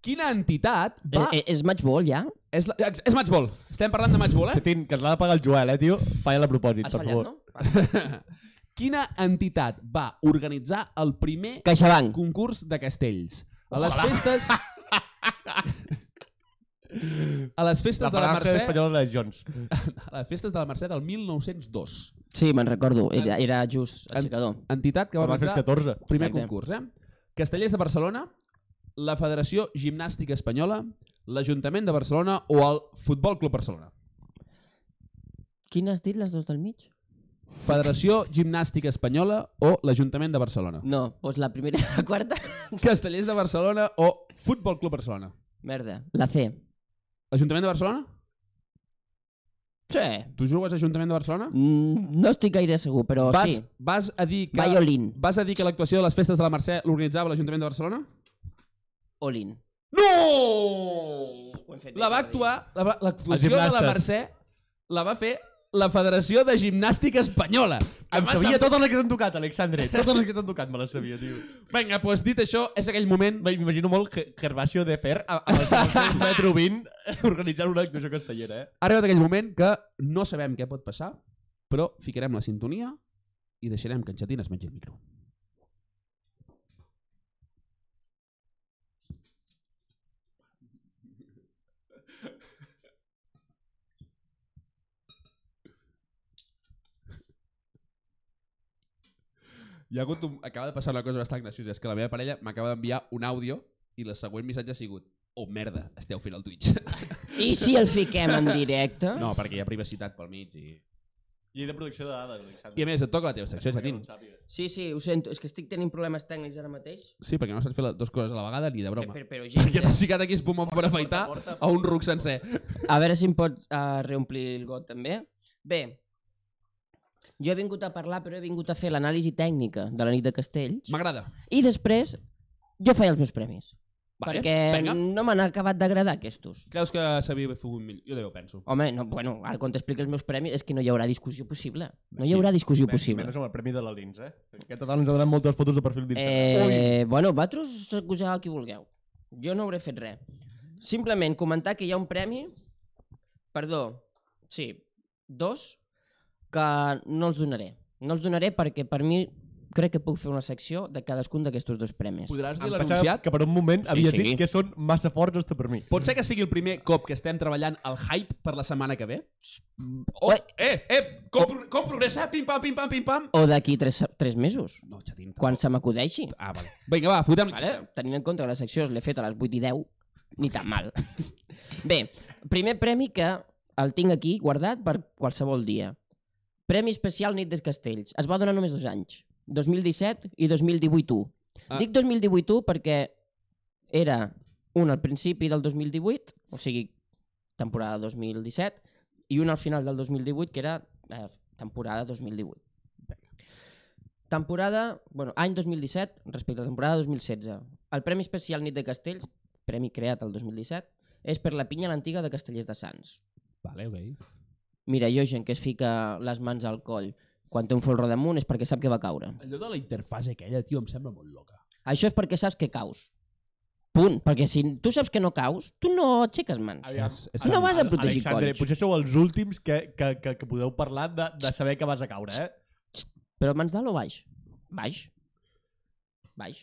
S1: Quina entitat va...
S3: Eh, eh, és matchball, ja?
S1: És, la... ex- és matchball. Estem parlant de matchball, eh?
S2: Xatín, que es l'ha de pagar el Joel, eh, tio? Falla la propòsit,
S3: Has
S2: per
S3: fallat,
S2: favor.
S3: no?
S1: Quina entitat va organitzar el primer
S3: CaixaBank.
S1: concurs de castells? A les festes... A les festes
S2: La
S1: de la
S2: paraula
S1: Mercè...
S2: espanyola de Jones.
S1: A les festes de la Mercè del 1902.
S3: Sí, me'n recordo. Era, era just aixecador.
S1: Entitat que va
S2: Com va fer
S1: organitzar
S2: 14.
S1: Primer
S3: Exacte.
S1: concurs, eh? Castellers de Barcelona, la Federació Gimnàstica Espanyola, l'Ajuntament de Barcelona o el Futbol Club Barcelona.
S3: Quin has dit, les dues del mig?
S1: Federació Gimnàstica Espanyola o l'Ajuntament de
S2: Mm.
S1: Barcelona.
S3: No, doncs la primera i la quarta.
S1: Castellers de Barcelona o Futbol Club Barcelona.
S3: Merda, la C.
S1: Ajuntament de Barcelona?
S3: Sí.
S1: Tu jugues a Ajuntament de Barcelona?
S3: Mm, no estic gaire segur, però
S1: vas,
S3: sí.
S1: vas a dir que...
S3: Violin.
S1: Vas a dir que l'actuació de les festes de la Mercè l'organitzava l'Ajuntament de Barcelona?
S3: Olin.
S1: No! La va actuar... la va-
S2: Els
S1: L'actuació de
S2: gimnastes.
S1: la Mercè la va fer la Federació de Gimnàstica Espanyola. que
S2: Em
S1: va
S2: sabia
S1: semblar-
S2: totes les que t'han tocat, Alexandre. Totes les que t'han tocat me les sabia, tio.
S1: Vinga, doncs dit això, és aquell moment...
S2: Bé, M'imagino molt que Gervasio de Fer, a- amb el seu metro 20, organitzant una actuació castellera, eh?
S1: Ha arribat aquell moment que no sabem què pot passar, però ficarem la sintonia i deixarem que en Xatín es mengi el micro. Hi ha hagut un... Acaba de passar una cosa bastant graciosa, és que la meva parella m'acaba d'enviar un àudio i el següent missatge ha sigut Oh, merda, esteu fent el Twitch.
S3: I si el fiquem en directe?
S1: No, perquè hi ha privacitat pel mig i...
S2: Llei de protecció de dades, Alexandre.
S1: I a més, et toca la teva secció,
S2: Sembla que no
S1: Jacint.
S2: en sàpigues.
S3: Sí, sí, ho sento. És que estic tenint problemes tècnics ara mateix.
S1: Sí, perquè no saps fer les dues coses a la vegada ni de broma.
S3: Però, però,
S1: Perquè
S3: gens,
S1: t'has ficat aquí espuma per afaitar
S2: Porta,
S1: a un ruc sencer.
S3: eh? A veure si em pots uh, reomplir el got, també. Bé, jo he vingut a parlar, però he vingut a fer l'anàlisi tècnica de la nit de Castells.
S1: M'agrada.
S3: I després, jo faré els meus premis.
S1: Vale,
S3: perquè
S1: Vinga.
S3: no m'han acabat d'agradar aquestos.
S1: Creus que s'havia fet un millor? Jo també ho penso.
S3: Home, no, bueno, ara quan t'expliqui els meus premis és que no hi haurà discussió possible. No hi
S1: Sí,
S3: haurà discussió
S2: Men-
S3: possible.
S2: Menys amb el premi de la Lins, eh? Aquest Nadal ens ha donat moltes fotos de perfil d'Instagram.
S3: Eh, bueno, vosaltres acuseu el que vulgueu. Jo no hauré fet res. Simplement comentar que hi ha un premi, perdó, sí, dos, que no els donaré. No els donaré perquè per mi crec que puc fer una secció de cadascun d'aquests dos premis.
S1: Podràs dir
S2: Em pensava
S1: l'anunciat?
S2: que per un
S3: Sí,
S2: moment havia
S3: sí.
S2: dit que són massa forts hasta per mi.
S1: Pot ser que sigui el primer cop que estem treballant el hype per la setmana que ve? Oh,
S3: Oi.
S1: eh, eh, com, pro- com progressa? Pim, pam, pim, pam, pim, pam.
S3: O d'aquí tres, tres mesos,
S1: No, xatín.
S3: quan se m'acudeixi.
S1: Ah, vale. Vinga, va, fotem-li.
S3: Vale? Tenint en compte que la secció l'he fet a les 8 i 10, ni tan mal. Bé, primer premi que el tinc aquí guardat per qualsevol dia. Premi especial Nit dels Castells. Es va donar només dos anys, 2017 i 2018 1.
S1: Ah.
S3: Dic 2018 1 perquè era un al principi del 2018, o sigui, temporada 2017, i un al final del 2018, que era eh, temporada 2018. Temporada, bueno, any 2017 respecte a la temporada 2016. El Premi Especial Nit de Castells, premi creat el 2017, és per la pinya l'antiga de Castellers de Sants.
S1: Vale, ok.
S3: Mira, jo, gent que es fica les mans al coll quan té un folro damunt és perquè sap que va caure.
S1: Allò de la interfase aquella, tio, em sembla molt loca.
S3: Això és perquè saps que caus. Punt. Perquè si tu saps que no caus, tu no aixeques mans.
S2: Aviam,
S1: És- és-
S3: No vas a protegir
S2: Alexandre,
S3: colls.
S2: potser sou els últims que, que, que, que podeu parlar de, de saber que vas a caure, eh?
S3: Però mans dalt o baix? Baix. Baix.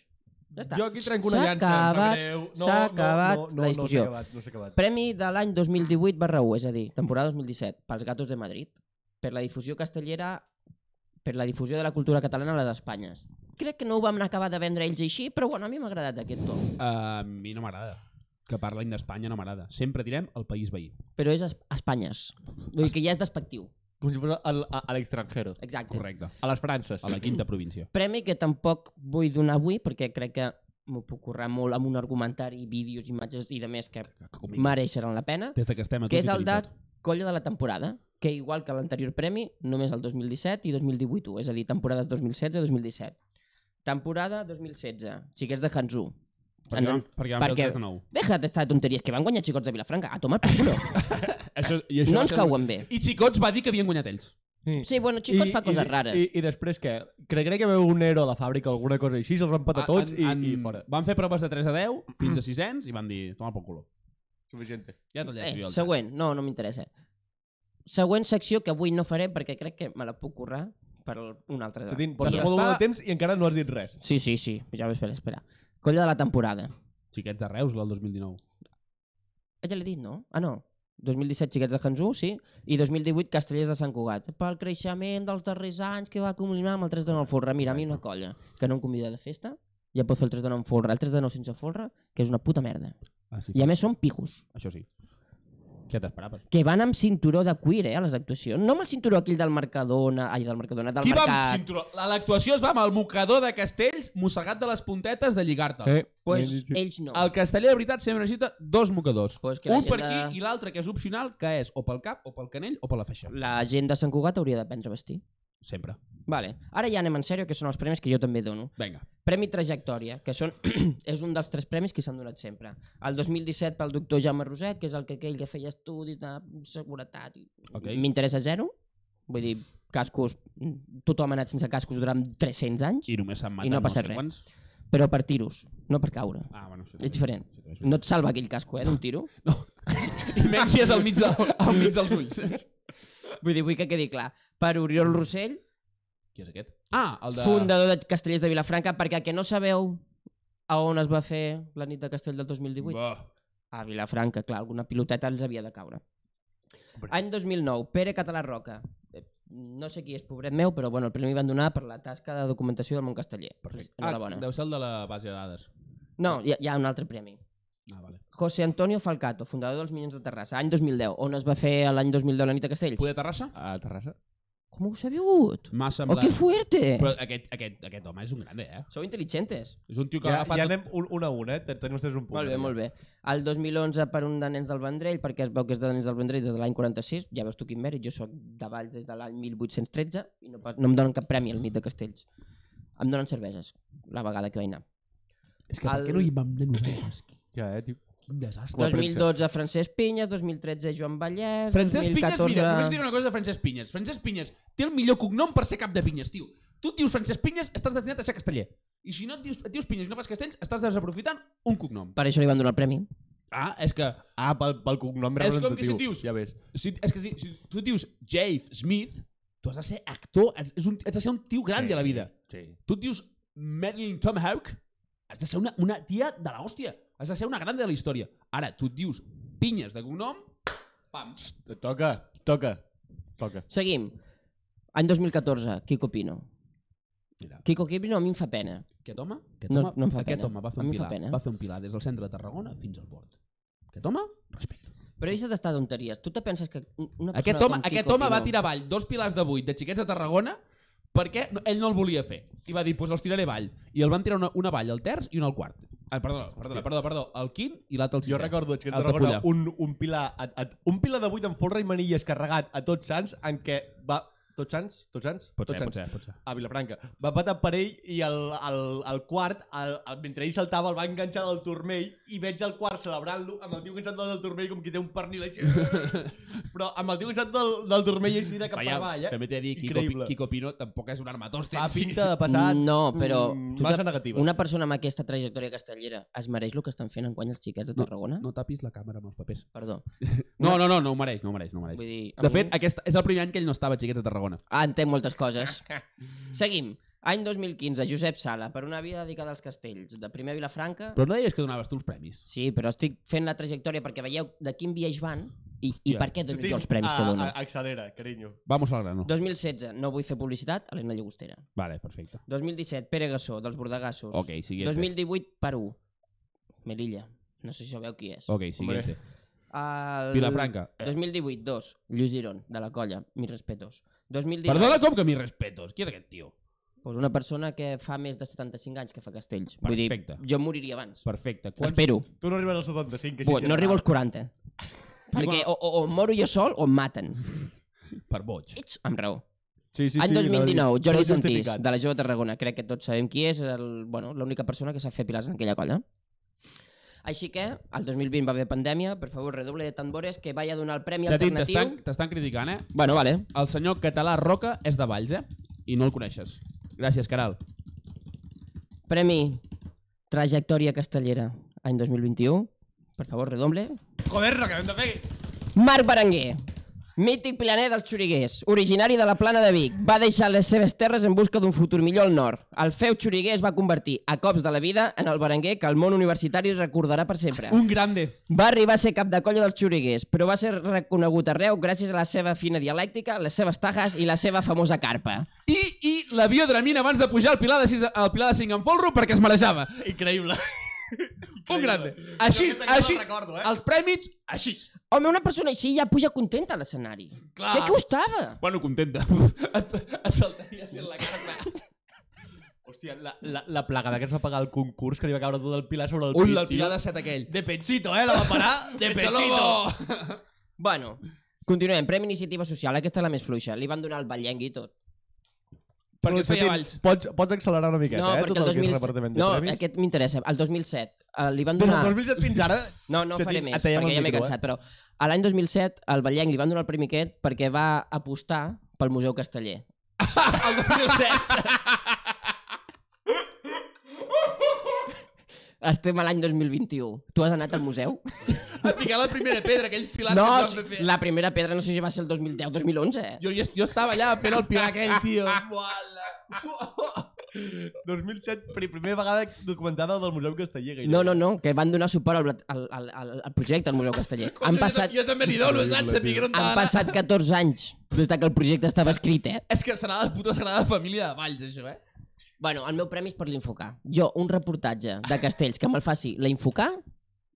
S3: Ja està.
S2: Jo aquí trenco una
S3: S'ha
S2: llança, em sap
S3: acabat-
S2: greu.
S3: s'ha acabat la discussió.
S2: No, s'ha acabat, no s'ha acabat.
S3: Premi de l'any 2018 barra 1, és a dir, temporada 2017, pels Gatos de Madrid, per la difusió castellera, per la difusió de la cultura catalana a les Espanyes. Crec que no ho vam acabar de vendre ells així, però bueno, a mi m'ha agradat aquest to.
S1: Eh, A mi no m'agrada. Que parlin d'Espanya no m'agrada. Sempre direm el país veí.
S3: Però és a Es- a Espanyes. Vull dir que ja és despectiu.
S2: Com si fos al- a, a l'extranjero.
S3: Exacte.
S1: Correcte.
S2: A les Frances.
S1: A la quinta província.
S3: Premi que tampoc vull donar avui, perquè crec que m'ho puc currar molt amb un argumentari, vídeos, imatges i de més que mereixeran la pena.
S1: Des de que estem a
S3: que és
S1: tot
S3: el de
S1: utilitzat.
S3: colla de la temporada, que igual que l'anterior premi, només el 2017 i 2018, és a dir, temporades 2016-2017. Temporada 2016, xiquets de Hanzú.
S1: Perquè,
S3: En-
S1: vam, perquè vam
S3: perquè-
S1: perquè... de nou.
S3: Deja d'estar de tonteries, que van guanyar xicots de Vilafranca. A tomar per culo.
S1: Això, i
S3: no
S1: va
S3: ens
S1: ser-
S3: cauen bé.
S1: I Xicots va dir que havien guanyat ells.
S3: Sí, bueno, xicots fa coses
S2: i,
S3: rares.
S2: I, i després què? Cregué que veu un ero a la fàbrica o alguna cosa així, se'ls van patar Tota tots i, i fora.
S1: Van fer proves de 3 a 10, fins a 600, i van dir, toma pel culo.
S2: Suficiente.
S1: Ja te'l
S3: Eh,
S1: llenço jo. Següent.
S3: següent, no, no m'interessa. Següent secció que avui no faré perquè crec que me la puc currar per un altre
S2: Ah,
S3: dia.
S2: Satín, porta
S1: Doncs
S2: molt
S1: està-
S2: de temps i encara no has dit res.
S3: Sí, sí, sí, ja ho espera, espera. Colla de la temporada.
S1: Xiquets de Reus, el 2019.
S3: Ah, Ja l'he dit, no? Ah, no. 2017 Xiquets de Hanzú, sí, i 2018 Castellers de Sant Cugat. Pel creixement dels darrers anys que va culminar amb el 3 de 9 forra. Mira, a mi una colla que no em convida de festa, ja pot fer el 3 de 9 forra, el 3 de 9 sense forra, que és una puta merda.
S1: Ah, sí,
S3: I a més són pijos,
S1: Això sí. Què t'esperaves?
S3: que van amb cinturó de cuir, eh, a les actuacions. No amb el cinturó aquell del Mercadona, ai, del Mercadona, del
S1: Qui va amb
S3: Mercat.
S1: cinturó? La- L'actuació es va amb el mocador de castells mossegat de les puntetes de lligar-te.
S2: Eh,
S3: pues, ells no.
S1: El casteller de veritat sempre necessita dos mocadors.
S3: Pues que la
S1: Un
S3: gent
S1: per
S3: de-
S1: aquí i l'altre que és opcional, que és o pel cap, o pel canell, o per la feixa.
S3: La gent de Sant Cugat hauria d'aprendre a vestir.
S1: Sempre.
S3: Vale. Ara ja anem en sèrio, que són els premis que jo també dono.
S1: Vinga.
S3: Premi Trajectòria, que són, és un dels tres premis que s'han donat sempre. El 2017 pel doctor Jaume Roset, que és el que aquell que feia estudis de seguretat. i-
S1: Ok.
S3: M'interessa zero. Vull dir, cascos... Tothom ha anat sense cascos durant 300 anys,
S1: I només s'han matat
S3: I no ha passat
S1: sé
S3: res.
S1: quants.
S3: però per tiros, no per caure.
S1: Ah, bueno, això
S3: És diferent.
S1: també és
S3: No et salva aquell casco, eh, d'un tiro.
S1: veritat. I menys si és al mig, del, al mig dels ulls.
S3: Vull dir, vull que quedi clar. Per Oriol Rossell,
S1: Qui és aquest? Ah, el de...
S3: fundador de Castellers de Vilafranca, perquè que no sabeu a on es va fer la nit de Castell del 2018.
S1: Bah.
S3: A Vilafranca, clar, alguna piloteta els havia de caure.
S2: Hombre.
S3: Any 2009, Pere Català Roca. Eh, No sé qui és, pobret meu, però bueno, el premi van donar per la tasca de documentació del Montcasteller.
S1: Perfecte.
S3: Enhorabona.
S1: Ah, deu ser el de la base de dades.
S3: No, hi ha, hi ha un altre premi.
S1: Ah, vale.
S3: José Antonio Falcato, fundador dels Minyons de Terrassa, any 2010, on es va fer l'any 2010 la nit a Castells.
S1: Poder Terrassa? A Terrassa.
S3: Com ho heu sabut?
S1: M'ha
S3: Ah. Oh,
S1: semblat...
S3: que fuerte!
S1: Però aquest, aquest, aquest home és un grande, eh?
S3: Sou intel·ligentes.
S1: És un tio que
S2: Ja,
S1: ha agafat...
S2: ja anem un, una a una, eh? Ten- Tenim els tres un punt.
S3: Molt bé, molt bé. El 2011 per un de Nens del Vendrell, perquè es veu que és de Nens del Vendrell des de l'any 46, ja veus tu quin mèrit, jo sóc de Valls des de l'any 1813 i no, pas- no em donen cap premi al nit de Castells. Em donen cerveses, la vegada que vaig anar.
S1: És
S3: que per què no hi
S1: vam anar nosaltres?
S2: Ja, eh, tio.
S1: Quin desastre.
S2: La premsa.
S3: 2012 Francesc Pinyes, 2013 Joan Vallès,
S1: Francesc Pinyes,
S3: 2014...
S1: mira, només diré una cosa de Francesc Pinyes. Francesc Pinyes té el millor cognom per ser cap de pinyes, tio. Tu et dius Francesc Pinyes, estàs destinat a ser casteller. I si no et dius, et dius Pinyes i no fas castells, estàs desaprofitant un cognom.
S3: Per això li van donar el premi.
S1: Ah, és que...
S2: Ah, pel, pel cognom
S1: És com que
S2: representatiu.
S1: si dius-
S2: Ja ves.
S1: Si, és que si, si tu et dius Jave Smith, tu has de ser actor, has, és un, has de ser un tio gran sí. de la vida.
S2: Sí.
S1: Tu et dius Marilyn Tomahawk, has de ser una, una tia de la hòstia. Has de ser una gran de la història. Ara, tu et dius Pinyes de cognom, pam.
S2: Toca, toca, toca.
S3: Seguim. Any 2014, Kiko Pino.
S1: Mira.
S3: Kiko Pino a mi em fa pena.
S1: Aquest home, aquest
S3: No-
S1: home,
S3: no em fa
S1: aquest
S3: pena.
S1: home va fer
S3: A
S1: un
S3: mi em fa
S1: pilar,
S3: pena.
S1: va fer un pilar des del centre de Tarragona fins al port. Aquest home, respecte.
S3: Però deixa't d'estar tonteries. Tu te penses que un- una persona
S1: Aquest home,
S3: com Kiko
S1: aquest home va
S3: Pino-
S1: tirar avall dos pilars de vuit de xiquets de Tarragona perquè no, ell no el volia fer. I va dir, doncs els tiraré avall. I el van tirar una, una avall al terç i una al quart. Ah, perdó, perdó,
S2: Hòstia.
S1: perdó, perdó, el quint i l'altre al sisè.
S2: Jo recordo que
S1: Els de
S2: Tarragona,
S1: fulla.
S2: un, un, pilar, a, a, un pilar de vuit amb folre i manilles carregat a tots sants en què va... Tots sants? Tots sants?
S1: Pot
S2: tots
S1: ser,
S2: sants.
S1: pot ser, pot ser.
S2: a Vilafranca. Va patar per ell i el, el, el quart, el, el, mentre ell saltava, el va enganxar del turmell i veig el quart celebrant-lo amb el tio enganxat del turmell com qui té un pernil aquí. Però amb el tio enganxat del, del turmell així de cap per avall, eh?
S1: també t'he de dir, Kiko,
S2: Increïble.
S1: Kiko Pino tampoc és un armatòstem.
S2: Fa
S1: sí.
S2: pinta de passat
S3: No, però
S2: mm,
S3: tu
S2: massa
S3: te-
S2: negativa.
S3: Una persona amb aquesta trajectòria castellera es mereix el que estan fent en guany els xiquets de
S1: No,
S3: Tarragona?
S1: No tapis la càmera amb els papers.
S3: Perdó.
S1: No, no, no, no ho mereix, no ho mereix, no ho mereix.
S3: Vull dir,
S1: De
S3: amb
S1: fet,
S3: un-
S1: aquest és el primer any que ell no estava a Xiquets de Tarragona.
S3: ah, entenc moltes coses. Seguim. Any 2015, Josep Sala, per una vida dedicada als castells. De primer a Vilafranca...
S1: Però no deies que donaves tu els premis.
S3: Sí, però estic fent la trajectòria perquè veieu de quin viatge van i, i
S1: Hòstia.
S3: per què dono
S2: Sentim,
S3: jo els premis que
S2: a-
S3: dono.
S2: a- Accelera, carinyo.
S1: Vamos al grano.
S3: 2016, no vull fer publicitat, Helena Llagostera.
S1: Vale, perfecte.
S3: 2017, Pere Gassó, dels Bordegassos.
S1: Ok, siguiente.
S3: 2018, Perú. Melilla. No sé si sabeu qui és.
S1: Ok, siguiente.
S3: El...
S1: Vilafranca.
S3: 2018, 2. Lluís Girón, de la colla. Mis respetos. 2019,
S1: Perdona com que mis respetos. Qui és aquest tio?
S3: Pues una persona que fa més de 75 anys que fa castells. Vull dir,
S1: Perfecte.
S3: jo moriria abans.
S1: Perfecte. Quants...
S3: Quants...
S2: Doncs
S3: Espero.
S2: Tu no arribes al 75, que sí
S3: Bueno,
S2: que
S3: no
S2: és
S3: arribo als
S2: raro.
S3: 40. Perquè o, o, o moro jo sol o em maten.
S1: Per boig.
S3: Ets amb raó.
S2: Sí, sí,
S3: Any
S2: sí, no,
S3: 2019,
S2: tot
S3: Jordi Santís,
S2: justificat.
S3: de la Jove Tarragona. Crec que tots sabem qui és, el- bueno, l'única persona que sap fer pilars en aquella colla. Així que, el 2020 va haver pandèmia, per favor, redoble de tambores, que vaya a donar el premi
S1: Xatín,
S3: alternatiu.
S1: t'estan t'estan criticant, eh?
S3: Bueno, vale.
S1: El senyor català Roca és de Valls, eh? I no el coneixes. Gràcies, Caral.
S3: Premi Trajectòria Castellera, any 2021. Per favor, redoble.
S2: Joder, no, que hem de fer...
S3: Marc Berenguer, mític planer dels xuriguers, originari de la plana de Vic, va deixar les seves terres en busca d'un futur millor al nord. El feu xuriguer es va convertir, a cops de la vida, en el Berenguer que el món universitari recordarà per sempre.
S1: Un grande.
S3: Va arribar a ser cap de colla dels xuriguers, però va ser reconegut arreu gràcies a la seva fina dialèctica, les seves tajas i la seva famosa carpa.
S1: I, i la biodramina abans de pujar al pilar de, sis, al pilar de 5 en folro perquè es marejava.
S2: Increïble.
S1: Un
S2: Increïble.
S1: grande.
S2: Jo
S1: Així,
S2: aquesta encara
S1: així.
S2: la recordo, eh?
S1: Els prèmits, així.
S3: Home, una persona així ja puja contenta a l'escenari.
S1: Clar.
S3: Què costava?
S1: Bueno, contenta. et, et saltaria fent la cara.
S2: Hòstia, la, la, la plagada que ens va pagar el concurs que li va caure tot el pilar sobre el
S1: Ui,
S2: pit,
S1: el pilar
S2: tio.
S1: de set aquell.
S2: De pechito, eh? La va parar de pechito.
S1: Pechalobo!
S3: Bueno, continuem. Premi Iniciativa Social, aquesta és la més fluixa. Li van donar el ballengui i tot.
S1: Perquè feia
S2: Xatín,
S1: valls.
S2: Pots, pots accelerar una miqueta,
S3: no,
S2: eh?
S3: perquè
S2: Tot el, que és
S3: 2000...
S2: repartiment de
S3: No,
S2: premis.
S3: aquest m'interessa. El 2007 eh, li van
S2: Des
S3: donar...
S2: del 2007 fins ara...
S3: No, no
S2: Xatín,
S3: faré més,
S2: et tallem
S3: perquè
S2: el
S3: ja m'he
S2: micro, eh?
S3: cansat, però a l'any 2007 al Ballenc li van donar el premi aquest perquè va apostar pel Museu Casteller.
S1: El 2007.
S3: Estem a l'any 2021. Tu has anat al museu?
S1: A ficar la primera pedra, aquells pilars
S3: No,
S1: que es
S3: sí,
S1: van fer.
S3: la primera pedra no sé si va ser el 2010 2011. Eh?
S1: Jo, jo, jo estava allà fent el pilar aquell, tio. Uala.
S2: 2007, pri- primera vegada documentada del Museu Casteller. gairebé.
S3: No, no, no, que van donar suport al, blat- al, al, al al projecte al Museu Casteller.
S1: Coi,
S3: Han
S1: jo-
S3: passat,
S1: Jo, també li dono, saps? Saber que no
S3: han passat 14 anys des de que el projecte estava escrit, eh?
S1: És que serà la puta sagrada família de Valls, això, eh?
S3: Bueno, el meu premi és per l'infocar. Jo, un reportatge de Castells que me'l faci la infocar,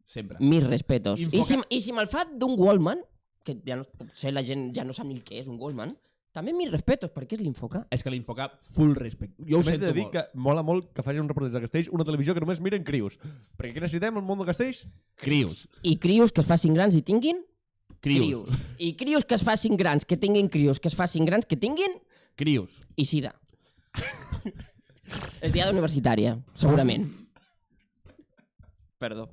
S1: Sempre.
S3: mis respetos. I si,
S1: Infocar.
S3: I si me'l fa d'un Wallman, que ja no, potser la gent ja no sap ni el que és un Wallman, També mis respetos, perquè és l'Infoca.
S1: És que l'Infocap, full respect. Jo ho
S2: També
S1: sento
S2: de dir
S1: molt.
S2: que mola molt que facin un reportatge de castells, una televisió que només miren crius. Perquè què necessitem al món de castells?
S1: Crius.
S3: I crios que es facin grans i tinguin
S1: Crius.
S3: crios. I crios que es facin grans, que tinguin crios, que es facin grans, que tinguin
S1: Crius.
S3: i sida. és diada universitària, segurament. Perdó.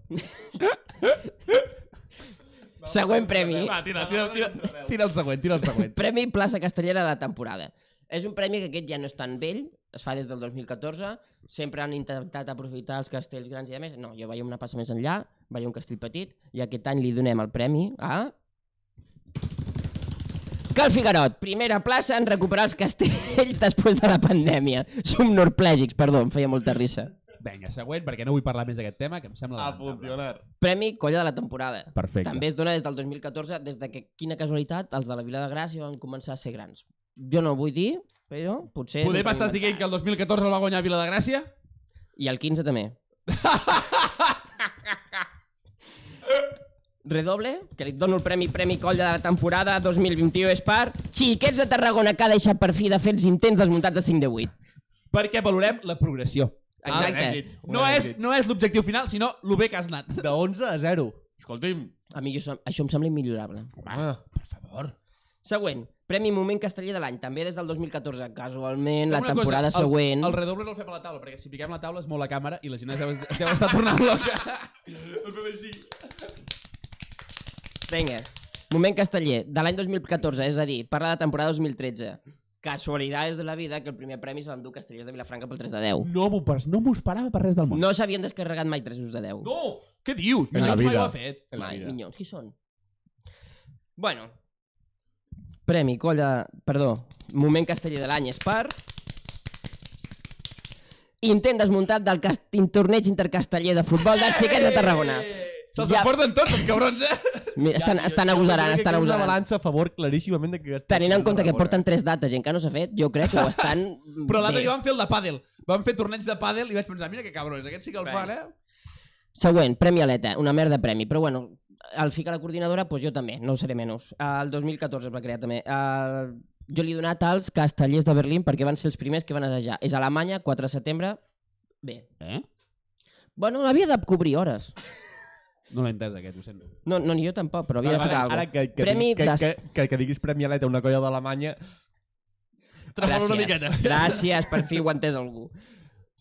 S3: Següent premi.
S1: Va, tira, tira, tira, tira el següent, tira el següent.
S3: Premi Plaça Castellera de la temporada. És un premi que aquest ja no és tan vell, es fa des del 2014, sempre han intentat aprofitar els castells grans i a més. No, jo veiem una passa més enllà, veiem un castell petit, i aquest any li donem el premi a... Cal Figarot, primera plaça en recuperar els castells després de la pandèmia. Som norplègics, perdó, em feia molta risa.
S1: Vinga, següent, perquè no vull parlar més d'aquest tema, que em sembla...
S2: A
S1: lamentable.
S2: funcionar.
S3: Premi Colla de la temporada.
S1: Perfecte.
S3: També es dona des del 2014, des de que, quina casualitat, els de la Vila de Gràcia van començar a ser grans. Jo no ho vull dir, però potser...
S1: Podem
S3: m'ho
S1: estar
S3: puc
S1: dient que el 2014 el va guanyar Vila de Gràcia?
S3: I el 15 també. Redoble, que li dono el premi Premi Colla de la temporada 2021 és per Xiquets de Tarragona que ha deixat per fi de fer els intents desmuntats de 5 de 8.
S1: Perquè valorem la progressió.
S3: Exacte.
S1: No és, no és l'objectiu final, sinó lo bé que has anat.
S2: De 11 a 0. Escolti'm.
S3: A mi jo, som- això em sembla immillorable.
S2: Home,
S1: Per favor.
S3: Següent, Premi Moment Casteller de l'any, també des del 2014. Casualment, la
S1: Fem una
S3: temporada
S1: cosa,
S3: següent...
S1: El, el redoble no el fem a la taula, perquè si piquem la taula es mou la càmera i la gent es deu, es deu estar tornant loca.
S2: el Doncs fem així.
S3: Vinga. Moment casteller, de l'any 2014, és a dir, parla de temporada 2013. Casualidades de la vida que el primer premi se l'endú Castellers de Vilafranca pel 3 de 10.
S1: No m'ho pas- no m'ho esperava per res del món.
S3: No s'havien descarregat mai 3 de 10.
S1: no. Què dius?
S2: En la
S1: Minyons mai
S2: vida.
S1: ho ha fet.
S2: En la
S3: Mai,
S2: vida.
S3: minyons, qui són? Bueno. Premi, colla... Perdó. Moment casteller de l'any és per... Intent desmuntat del cast... torneig intercasteller de futbol del Xiquet de Tarragona.
S1: Eh! Se'ls
S3: Ja.
S1: emporten tots els cabrons, eh?
S3: Mira, estan, estan agosarant, estan
S2: Hi ha una
S3: agosarant.
S2: balança a favor claríssimament de que... Castells
S3: Tenint en compte que
S2: Tarragona.
S3: porten tres dates i encara no s'ha fet, jo crec que ho estan...
S1: Però l'altre
S3: bé.
S1: dia van fer el de pàdel. Van fer torneig de pàdel i vaig pensar, mira que cabrons, aquest sí que el
S3: Bé.
S1: fan, eh?
S3: Següent, Premi Aleta, una merda de premi, però bueno, el fica la coordinadora, doncs jo també, no ho seré menys. Eh, El 2014 es va crear també. Eh, Jo li he donat als castellers de Berlín perquè van ser els primers que van assajar. És a Alemanya, 4 de setembre, bé.
S1: Eh?
S3: Bueno, havia de cobrir hores.
S1: No l'he entès, aquest, ho sento.
S3: No, no ni jo tampoc, però havia
S2: Ara,
S3: de fer
S2: ara,
S3: alguna
S2: ara
S3: cosa.
S2: que, que,
S3: Premi
S2: digui- que,
S3: des-
S2: que, que, que diguis Premi Aleta a una colla d'Alemanya... Tremola una miqueta.
S3: Gràcies, gràcies, per fi ho ha entès algú.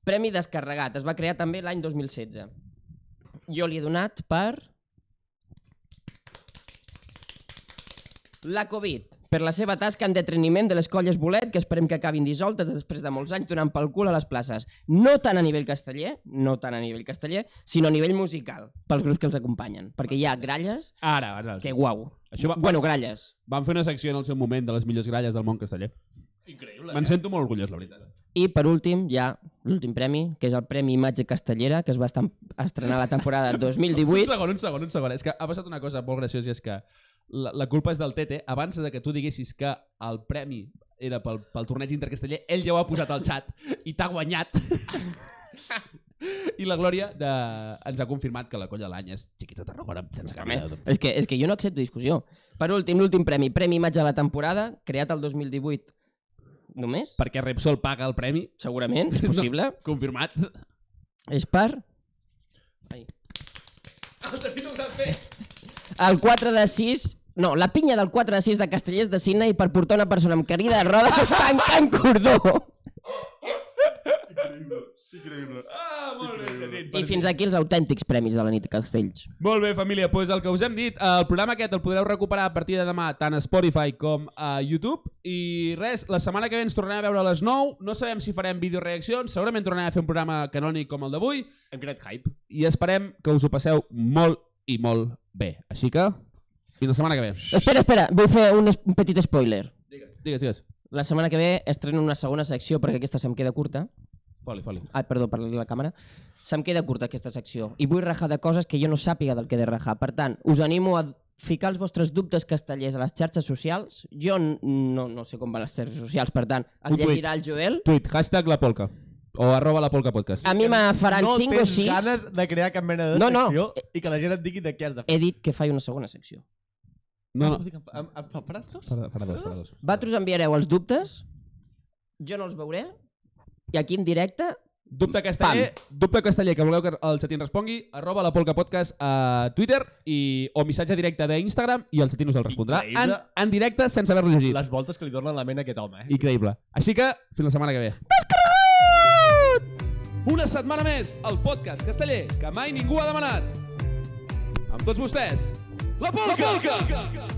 S3: Premi descarregat, es va crear també l'any 2016. Jo li he donat per... La Covid, per la seva tasca en detreniment de les colles bolet que esperem que acabin dissoltes després de molts anys donant pel cul a les places. No tant a nivell casteller, no tant a nivell casteller, sinó a nivell musical, pels grups que els acompanyen. Perquè hi ha gralles,
S1: Ara, ara.
S3: que guau.
S1: Això va,
S3: Bueno, gralles.
S1: Van fer una secció en el seu moment de les millors gralles del món casteller.
S2: Increïble.
S1: Me'n sento molt orgullós, la veritat.
S3: I per últim, hi ha l'últim premi, que és el Premi Imatge Castellera, que es va estan- estrenar la temporada
S1: Un
S3: 2018.
S1: segon, un segon, un segon. És que ha passat una cosa molt graciosa i és que la, la culpa és del Tete. Abans de que tu diguessis que el premi era pel, pel torneig intercasteller, ell ja ho ha posat al xat i t'ha guanyat. I la Glòria de... ens ha confirmat que la colla de l'any és xiquita de Tarragona. Sense cap mena de dubte.
S3: És que, és que jo no accepto discussió. Per últim, l'últim premi, Premi Imatge de la temporada, creat el 2018. Només?
S1: Perquè Repsol paga el premi,
S3: Segurament, és possible.
S1: confirmat.
S3: És per... Ai.
S1: El Tete no ho sap fer.
S3: El 4 de 6... No, la pinya del 4 de 6 de Castellers de Sina i per portar una persona amb carida de rodes tancant cordó.
S1: Ah, molt bé, Petit.
S3: I fins aquí els autèntics premis de la nit Castells.
S1: Molt bé, família, doncs el que us hem dit, eh, el programa aquest el podreu recuperar a partir de demà tant a Spotify com a YouTube. I res, la setmana que ve ens tornarem a veure a les 9. No sabem si farem videoreaccions, segurament tornarem a fer un programa canònic com el d'avui.
S2: Hem creat hype.
S1: I esperem que us ho passeu molt i molt bé. Així que, fins la setmana que ve.
S3: Espera, espera, vull fer un, es- un petit spoiler.
S1: Digues, digues.
S3: La setmana que ve estreno una segona secció perquè aquesta se'm queda curta.
S1: Foli, foli.
S3: Ai, perdó, parlaré a la càmera. Se'm queda curta aquesta secció i vull rajar de coses que jo no sàpiga del que he de rajar. Per tant, us animo a ficar els vostres dubtes castellers a les xarxes socials. Jo n- no, no sé com van les xarxes socials, per tant,
S1: Un
S3: els
S1: tuit.
S3: llegirà el Joel.
S1: Tuit, hashtag la polca. O arroba la polca podcast.
S3: A mi me faran
S2: no
S3: 5 o
S2: tens
S3: 6.
S2: ganes de crear cap mena de
S3: No, no.
S2: secció i que la gent et digui de què has de fer.
S3: He dit que faig una segona secció.
S1: No, no.
S2: Em, em, em faràs dos?
S1: Farà, farà dos, farà dos.
S3: Vosaltres enviareu els dubtes, jo no els veuré, i aquí en directe,
S1: Dubte casteller, dubte casteller que voleu que el xatín respongui, arroba la polca podcast a Twitter i, o missatge directe d'Instagram i el xatín us el respondrà en,
S2: Increïble.
S1: en directe sense haver-lo llegit.
S2: Les voltes que li donen la ment a aquest home, eh?
S1: Increïble. Així que, fins la setmana que ve. Una setmana més, el podcast casteller que mai ningú ha demanat. Amb tots vostès, La polca! La polca!